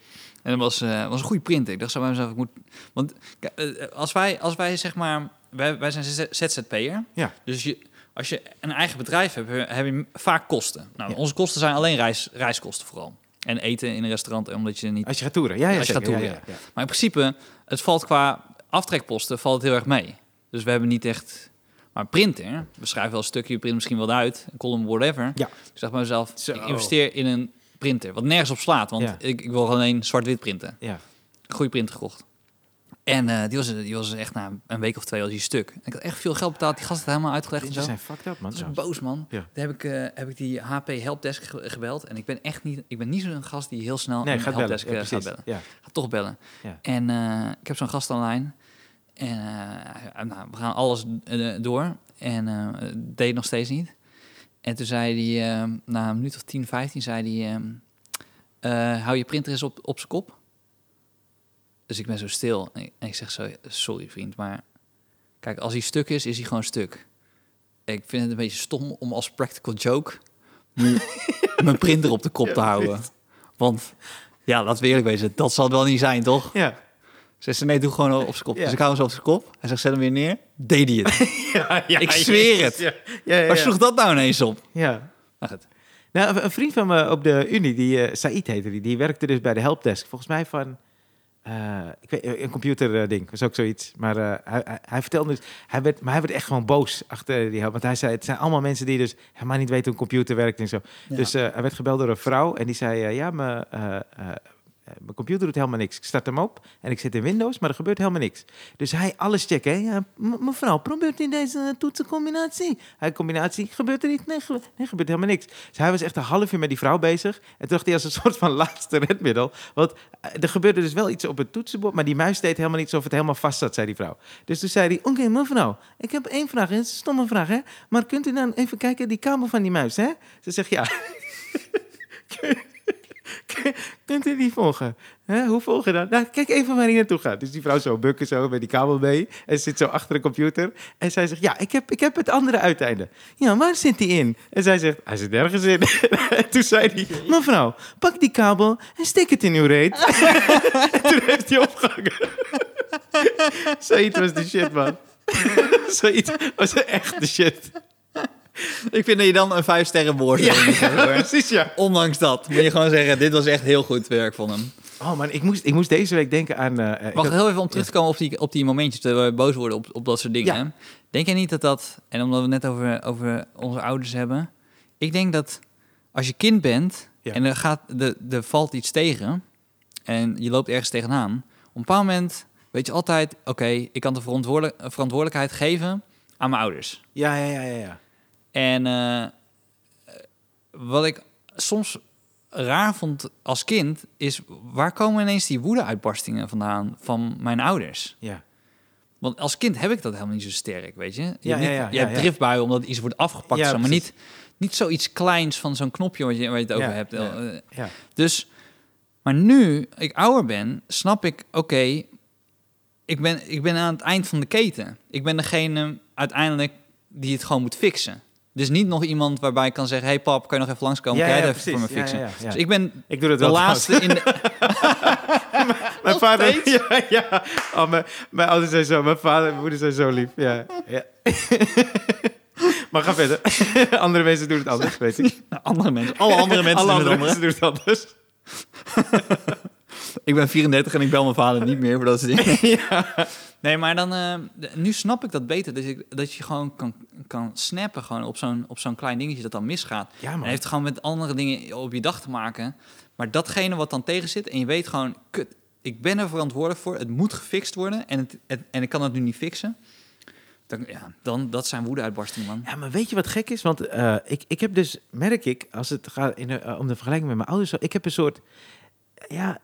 En dat was, eh, was een goede printer. Ik dacht zo bij mezelf, ik moet... Want k- eh, als wij, als wij zeg maar... Wij, wij zijn z- ZZP'er. Ja. Dus je, als je een eigen bedrijf hebt, heb je- heb je vaak kosten. Nou, onze kosten zijn alleen reis, reiskosten vooral. En eten in een restaurant, omdat je niet... Als je gaat toeren. Ja, ja, als je gaat zeker. toeren. Ja, ja, Maar in principe, het valt qua aftrekposten valt het heel erg mee. Dus we hebben niet echt... Maar een printer, we schrijven wel een stukje, je print misschien wel uit, een column, whatever. ja. Ik dacht bij mezelf, Zo. ik investeer in een printer. Wat nergens op slaat, want Ja. ik, ik wil alleen zwart-wit printen. ja. Goede print gekocht. En eh, die, was, die was echt na een week of twee was die stuk. En ik had echt veel geld betaald. Die gast had helemaal uitgelegd en Ze zo. zijn fucked up, man. Dat is boos, man. Ja. Daar heb ik, eh, heb ik die HP helpdesk ge- gebeld. En ik ben echt niet, ik ben niet zo'n gast die heel snel Nee, een gaat bellen. helpdesk Ja, eh, gaat precies. bellen. [laughs] Ja. Ga toch bellen. Ja. En eh, ik heb zo'n gast online. En eh, nou, we gaan alles eh, door. En eh, het deed nog steeds niet. En toen zei hij, eh, na een minuut of 10, 15, zei hij... ehm, eh, hou je printer eens op, op zijn kop. Dus ik ben zo stil. En ik, en ik zeg zo, sorry vriend, maar... Kijk, als hij stuk is, is hij gewoon stuk. Ik vind het een beetje stom om als practical joke... nu mijn printer op de kop te houden. Want, ja, laten we eerlijk wezen, dat zal het wel niet zijn, toch? Ja. Zegt ze, nee, doe gewoon op zijn kop. Ja. Dus ik hou hem zo op zijn kop. Hij zegt, zet hem weer neer. Deed hij het. [laughs] Ja, ja, Ik zweer het. Ja, ja, ja, Waar ja. sloeg dat nou ineens op? Ja. Nou, goed. Nou, een vriend van me op de Unie, die eh Said heette die, die werkte dus bij de helpdesk. Volgens mij van eh, ik weet, een computerding, was ook zoiets. Maar eh, hij, hij, hij vertelde dus, hij werd, maar hij werd echt gewoon boos achter die help. Want hij zei, het zijn allemaal mensen die dus helemaal niet weten hoe een computer werkt en zo. Ja. Dus eh, hij werd gebeld door een vrouw en die zei, eh, ja, mijn, eh, eh, mijn computer doet helemaal niks. Ik start hem op en ik zit in Windows, maar er gebeurt helemaal niks. Dus hij alles checken. hè. Ja, m- mevrouw, probeert in deze toetsencombinatie. Hij combinatie, gebeurt er niet? Nee, gebe- nee, gebeurt helemaal niks. Dus hij was echt een half uur met die vrouw bezig. En toen dacht hij als een [laughs] soort van laatste redmiddel. Want eh, er gebeurde dus wel iets op het toetsenbord, maar die muis deed helemaal niet alsof het helemaal vast zat, zei die vrouw. Dus toen zei hij, oké mevrouw, ik heb één vraag. Het is een stomme vraag, hè? Maar kunt u dan even kijken die kabel van die muis, hè? Ze zegt, ja. [laughs] Kunt u die volgen? Hè, Hoe volgen dan? Nou, kijk even waar hij naartoe gaat. Dus die vrouw zo bukken zo met die kabel mee. En ze zit zo achter de computer. En zij zegt, ja, ik heb, ik heb het andere uiteinde. Ja, waar zit die in? En zij zegt, hij zit nergens in. [laughs] en toen zei hij, mevrouw, pak die kabel en steek het in uw reet. [laughs] en toen heeft hij opgehangen. [laughs] Zoiets was de shit, man. [laughs] Zoiets was echt de shit. Ik vind dat je dan een vijf sterren woord [laughs] Precies, ja. Ondanks dat moet je gewoon zeggen, dit was echt heel goed werk van hem. Oh man, ik moest, ik moest deze week denken aan... eh, eh, ik Wacht, had- heel even om terug te komen op die, op die momentjes dat we boos worden op, op dat soort dingen. Ja. hè? Denk jij niet dat dat, en omdat we het net over, over onze ouders hebben. Ik denk dat als je kind bent Ja. en er, gaat, de er valt iets tegen en je loopt ergens tegenaan. Op een bepaald moment weet je altijd, oké, ik kan de verantwoordelijk, verantwoordelijkheid geven aan mijn ouders. Ja, ja, ja, ja. ja. En eh, wat ik soms raar vond als kind, is waar komen ineens die woede-uitbarstingen vandaan van mijn ouders? ja. Want als kind heb ik dat helemaal niet zo sterk, weet je. je Ja, hebt ja, ja, niet- je ja, hebt ja. driftbuien omdat iets wordt afgepakt, Ja, zo, maar precies. niet, niet zoiets kleins van zo'n knopje wat je, waar je het over Ja, hebt. Eh, Ja. Dus, maar nu ik ouder ben, snap ik, oké, ik, ben, ik ben aan het eind van de keten. Ik ben degene uiteindelijk die het gewoon moet fixen. Dus niet nog iemand waarbij ik kan zeggen, hey pap, kan je nog even langskomen? Ja, kan jij ja, het even voor precies. me fixen? Ja, ja, ja, ja. Dus ik ben Ik doe dat de wel laatste in de... [laughs] Mijn Nog vader, steeds? [laughs] ja, ja. Oh, mijn, mijn ouders zijn zo, mijn vader en mijn moeder zijn zo lief. Ja, ja. [laughs] maar ga verder. [laughs] Andere mensen doen het anders, weet ik. Nou, andere mensen, [laughs] alle andere mensen Alle doen het andere mensen andere. doen het anders. Ik ben 34 en ik bel mijn vader niet meer voor dat soort dingen. [laughs] Nee, maar dan, eh, d- nu snap ik dat beter. Dus ik, dat je gewoon kan, kan snappen gewoon op zo'n op zo'n klein dingetje dat dan misgaat. Ja, En man. het heeft gewoon met andere dingen op je dag te maken. Maar datgene wat dan tegen zit en je weet gewoon, kut, ik ben er verantwoordelijk voor. Het moet gefixt worden en, het, het- en ik kan het nu niet fixen. Dan, ja, dan, dat zijn woedeuitbarstingen, man. Ja, maar weet je wat gek is? Want eh, ik, ik heb dus, merk ik, als het gaat in, eh, om de vergelijking met mijn ouders, ik heb een soort, ja,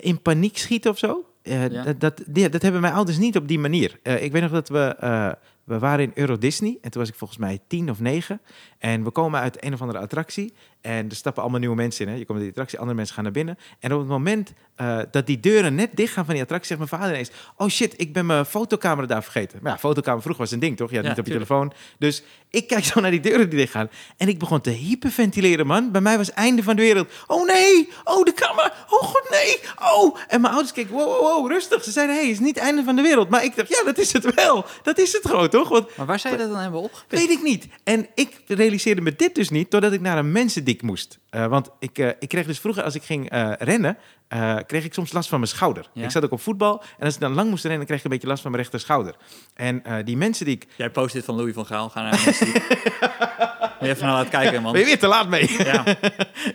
in paniek schieten of zo. Eh, Ja. dat, dat, die- dat hebben mijn ouders niet op die manier. Eh, ik weet nog dat we, eh, we waren in Euro Disney en toen was ik volgens mij tien of negen. En we komen uit een of andere attractie en er stappen allemaal nieuwe mensen in. Hè. Je komt in die attractie, andere mensen gaan naar binnen. En op het moment eh, dat die deuren net dicht gaan van die attractie, zegt mijn vader ineens... Oh shit, ik ben mijn fotocamera daar vergeten. Maar ja, fotocamera vroeger was een ding, toch? Je had Ja, niet op je tuurlijk. telefoon. Dus ik kijk zo naar die deuren die dichtgaan. En ik begon te hyperventileren, man. Bij mij was het einde van de wereld. Oh nee, oh de camera, oh god nee, oh. En mijn ouders keken, wow, wow, wow, rustig. Ze zeiden, hé, hey, het is niet het einde van de wereld. Maar ik dacht, ja, dat is het wel. Dat is het gewoon, toch? Want Maar waar zou je dat dan hebben opgepikt? Weet ik niet. En ik realiseerde me dit dus niet, doordat ik naar een mensendik moest. Eh, want ik, eh, ik kreeg dus vroeger, als ik ging eh, rennen, eh, kreeg ik soms last van mijn schouder. Ja. Ik zat ook op voetbal. En als ik dan lang moest rennen, kreeg ik een beetje last van mijn rechter schouder. En eh, die mensen die ik... Jij post dit van Louis van Gaal, ga naar [laughs] hem. Moet je even naar laten kijken, man. Ben je weer te laat mee? Ja.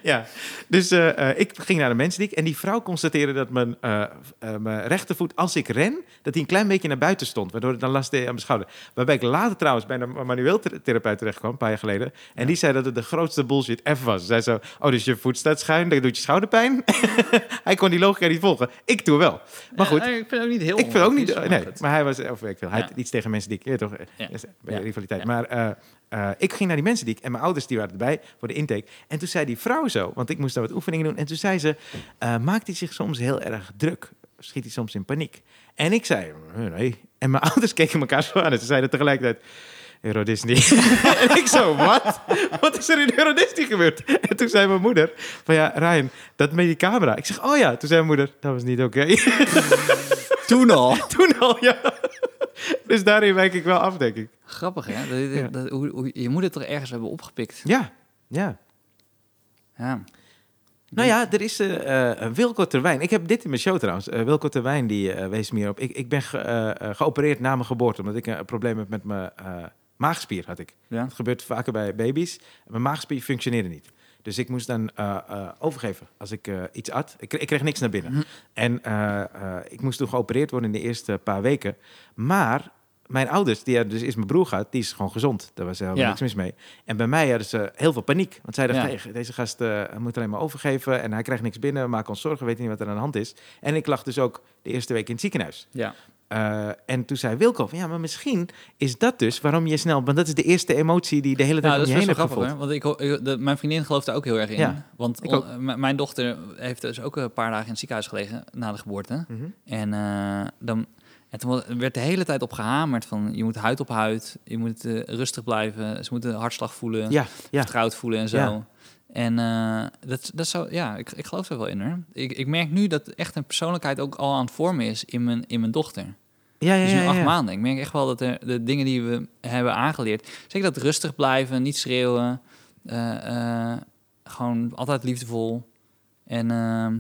ja. Dus eh, eh, ik ging naar de mensendik. En die vrouw constateerde dat mijn, eh, eh, mijn rechtervoet, als ik ren, dat hij een klein beetje naar buiten stond. Waardoor het dan last deed aan mijn schouder. Waarbij ik later trouwens bij een manueel thera- therapeut terecht kwam, een paar jaar geleden. En die zei dat het de grootste bullshit ever was. Ze zei zo, oh, dus je voet staat schuin, dat doet je schouderpijn. [laughs] hij kon die logica niet volgen. Ik doe wel. Maar goed, Ja, Eh, ik vind het ook niet heel ik vind ook niet. eh, onlogisch, maar nee, [laughs] goed. maar hij was. Of weet ik veel. Hij Ja. had iets tegen mensen die ik. Ja, toch? eh, Ja. dat is Bij Ja. de rivaliteit. Ja. Maar eh, eh, ik ging naar die mensen die ik. En mijn ouders die waren erbij voor de intake. En toen zei die vrouw zo. Want ik moest daar wat oefeningen doen. En toen zei ze. eh, maakt hij zich soms heel erg druk? Schiet hij soms in paniek? En ik zei. eh, Nee. En mijn [laughs] ouders keken elkaar zo aan. En ze zeiden tegelijkertijd. Euro Disney. [laughs] en ik zo, wat? Wat is er in Euro Disney gebeurd? En toen zei mijn moeder van ja, Ryan, dat met die camera. Ik zeg, oh ja. Toen zei mijn moeder, dat was niet oké. Toen al. Toen al, ja. Dus daarin wijk ik wel af, denk ik. Grappig, hè? Dat- dat- Ja. dat- hoe, hoe- je moet het er ergens hebben opgepikt. Ja, ja. Ja. Nou ja, er is eh, eh, Wilco Terwijn. Ik heb dit in mijn show trouwens. Eh, Wilco Terwijn, die eh, wees me hierop. Ik, ik ben ge- eh, eh, geopereerd na mijn geboorte, omdat ik een probleem heb met mijn eh, maagspier, had ik. ja. Het gebeurt vaker bij baby's. Mijn maagspier functioneerde niet. Dus ik moest dan eh, eh, overgeven als ik eh, iets at. Ik, kreeg- ik kreeg niks naar binnen. Hm. En eh, eh, ik moest toen geopereerd worden in de eerste paar weken. Maar mijn ouders, die hadden dus is mijn broer gaat, die is gewoon gezond. Daar was helemaal Ja. niks mis mee. En bij mij hadden ze heel veel paniek. Want zij dachten, Ja. "Hey, deze gast eh, moet alleen maar overgeven. En hij krijgt niks binnen. We maken ons zorgen, we weten niet wat er aan de hand is. En ik lag dus ook de eerste week in het ziekenhuis. ja. Eh, en toen zei Wilco van, ja, maar misschien is dat dus waarom je snel... Want dat is de eerste emotie die de hele tijd Nou, dat om is je best heen wel hebt grappig, gevoeld. hè? Want ik, ho- ik- de- mijn vriendin gelooft daar ook heel erg in. Ja, Want ik on- ook. m- mijn dochter heeft dus ook een paar dagen in het ziekenhuis gelegen na de geboorte. Mhm. En, eh, dan, en toen wa- werd de hele tijd op gehamerd van je moet huid op huid, je moet eh, rustig blijven, ze moeten de hartslag voelen, Ja, ja. vertrouwd voelen en zo. Ja. En eh, dat, dat zou, ja, ik, ik geloof daar wel in hoor. Ik, ik merk nu dat echt een persoonlijkheid ook al aan het vormen is in mijn, in mijn dochter. Ja, ja, Dus nu ja, acht ja. maanden. Ik merk echt wel dat er, de dingen die we hebben aangeleerd... Zeker dat rustig blijven, niet schreeuwen. eh, eh, gewoon altijd liefdevol. En ehm,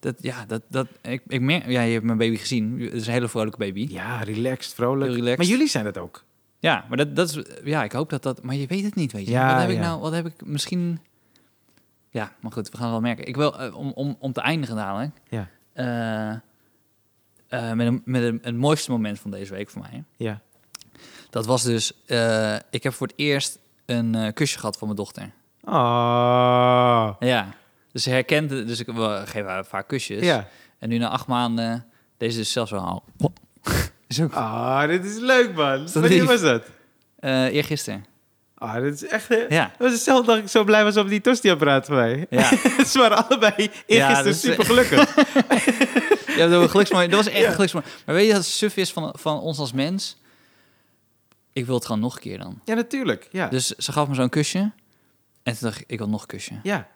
dat, ja, dat, dat, ik, ik merk... Ja, je hebt mijn baby gezien. Het is een hele vrolijke baby. Ja, relaxed, vrolijk. Heel relaxed. Maar jullie zijn dat ook. Ja, maar dat, dat is... Ja, ik hoop dat dat... Maar je weet het niet, weet je. Ja, wat heb ik ja. nou... Wat heb ik misschien... Ja, maar goed, we gaan het wel merken. Ik wil, eh, om, om, om te eindigen dadelijk... Ja. eh, eh, met, een, met een, het mooiste moment van deze week voor mij... Ja. Dat was dus, eh, ik heb voor het eerst een eh, kusje gehad van mijn dochter. Oh. Ja. Dus ze herkende, dus ik we geven haar vaak kusjes. Ja. dus En nu na acht maanden, deze is zelfs wel al. Is ook Ah, dit is leuk, man. dat Wanneer lief? was dat? eh eergisteren. Ah, dit is echt... eh, Ja. Het was hetzelfde dat ik zo blij was op die tosti-apparaat van mij. Ja, [laughs] Ze waren allebei Ja, dus, eh, eergisteren dat is- super gelukkig. ja dat, was geluksmoment. dat was echt een geluksmoment. Maar weet je dat het suf is van, van ons als mens? Ik wil het gewoon nog een keer dan. ja, natuurlijk. Ja. Dus ze gaf me zo'n kusje. En toen dacht ik, ik wil nog een kusje. ja,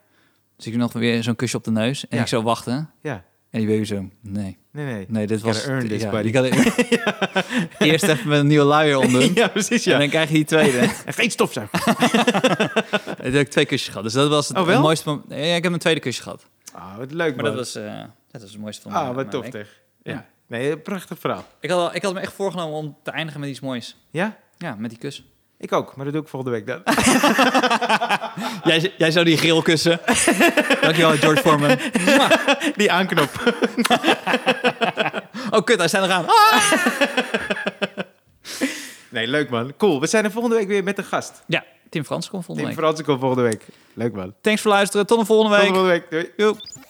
Dus ik doe nog weer zo'n kusje op de neus. En Ja. ik zo wachten. ja. En die baby zo, nee. Nee, nee. Nee, dit You was... gotta earn this, ja, buddy. je kan het- [laughs] [laughs] Eerst even met een nieuwe luier omdoen. ja, [laughs] precies, ja. En dan krijg je die [laughs] tweede. En geen stofzuiger. En toen heb ik twee kusjes gehad. Dus dat was het, Oh, wel? het mooiste moment. Ja, ik heb een tweede kusje gehad. Ah, wat leuk, Maar man. dat was, eh, dat was het mooiste van ah, mijn- wat mijn tof, week. zeg. Ja. Ja. Nee, een prachtig verhaal. Ik had, al- ik had me echt voorgenomen om te eindigen met iets moois. Ja? Ja, met die kus. Ik ook, maar dat doe ik volgende [laughs] week dan. Jij, jij zou die grill [laughs] kussen. Dankjewel, George Foreman. Die aanknop. Oh, kut, hij staat eraan. Nee, leuk man. Cool. We zijn er volgende week weer met een gast. Ja, Tim Frans komt volgende Tim week. Fransen komt volgende week. Leuk man. Thanks voor luisteren. Tot de volgende Tot week. volgende week. Doei. Joep.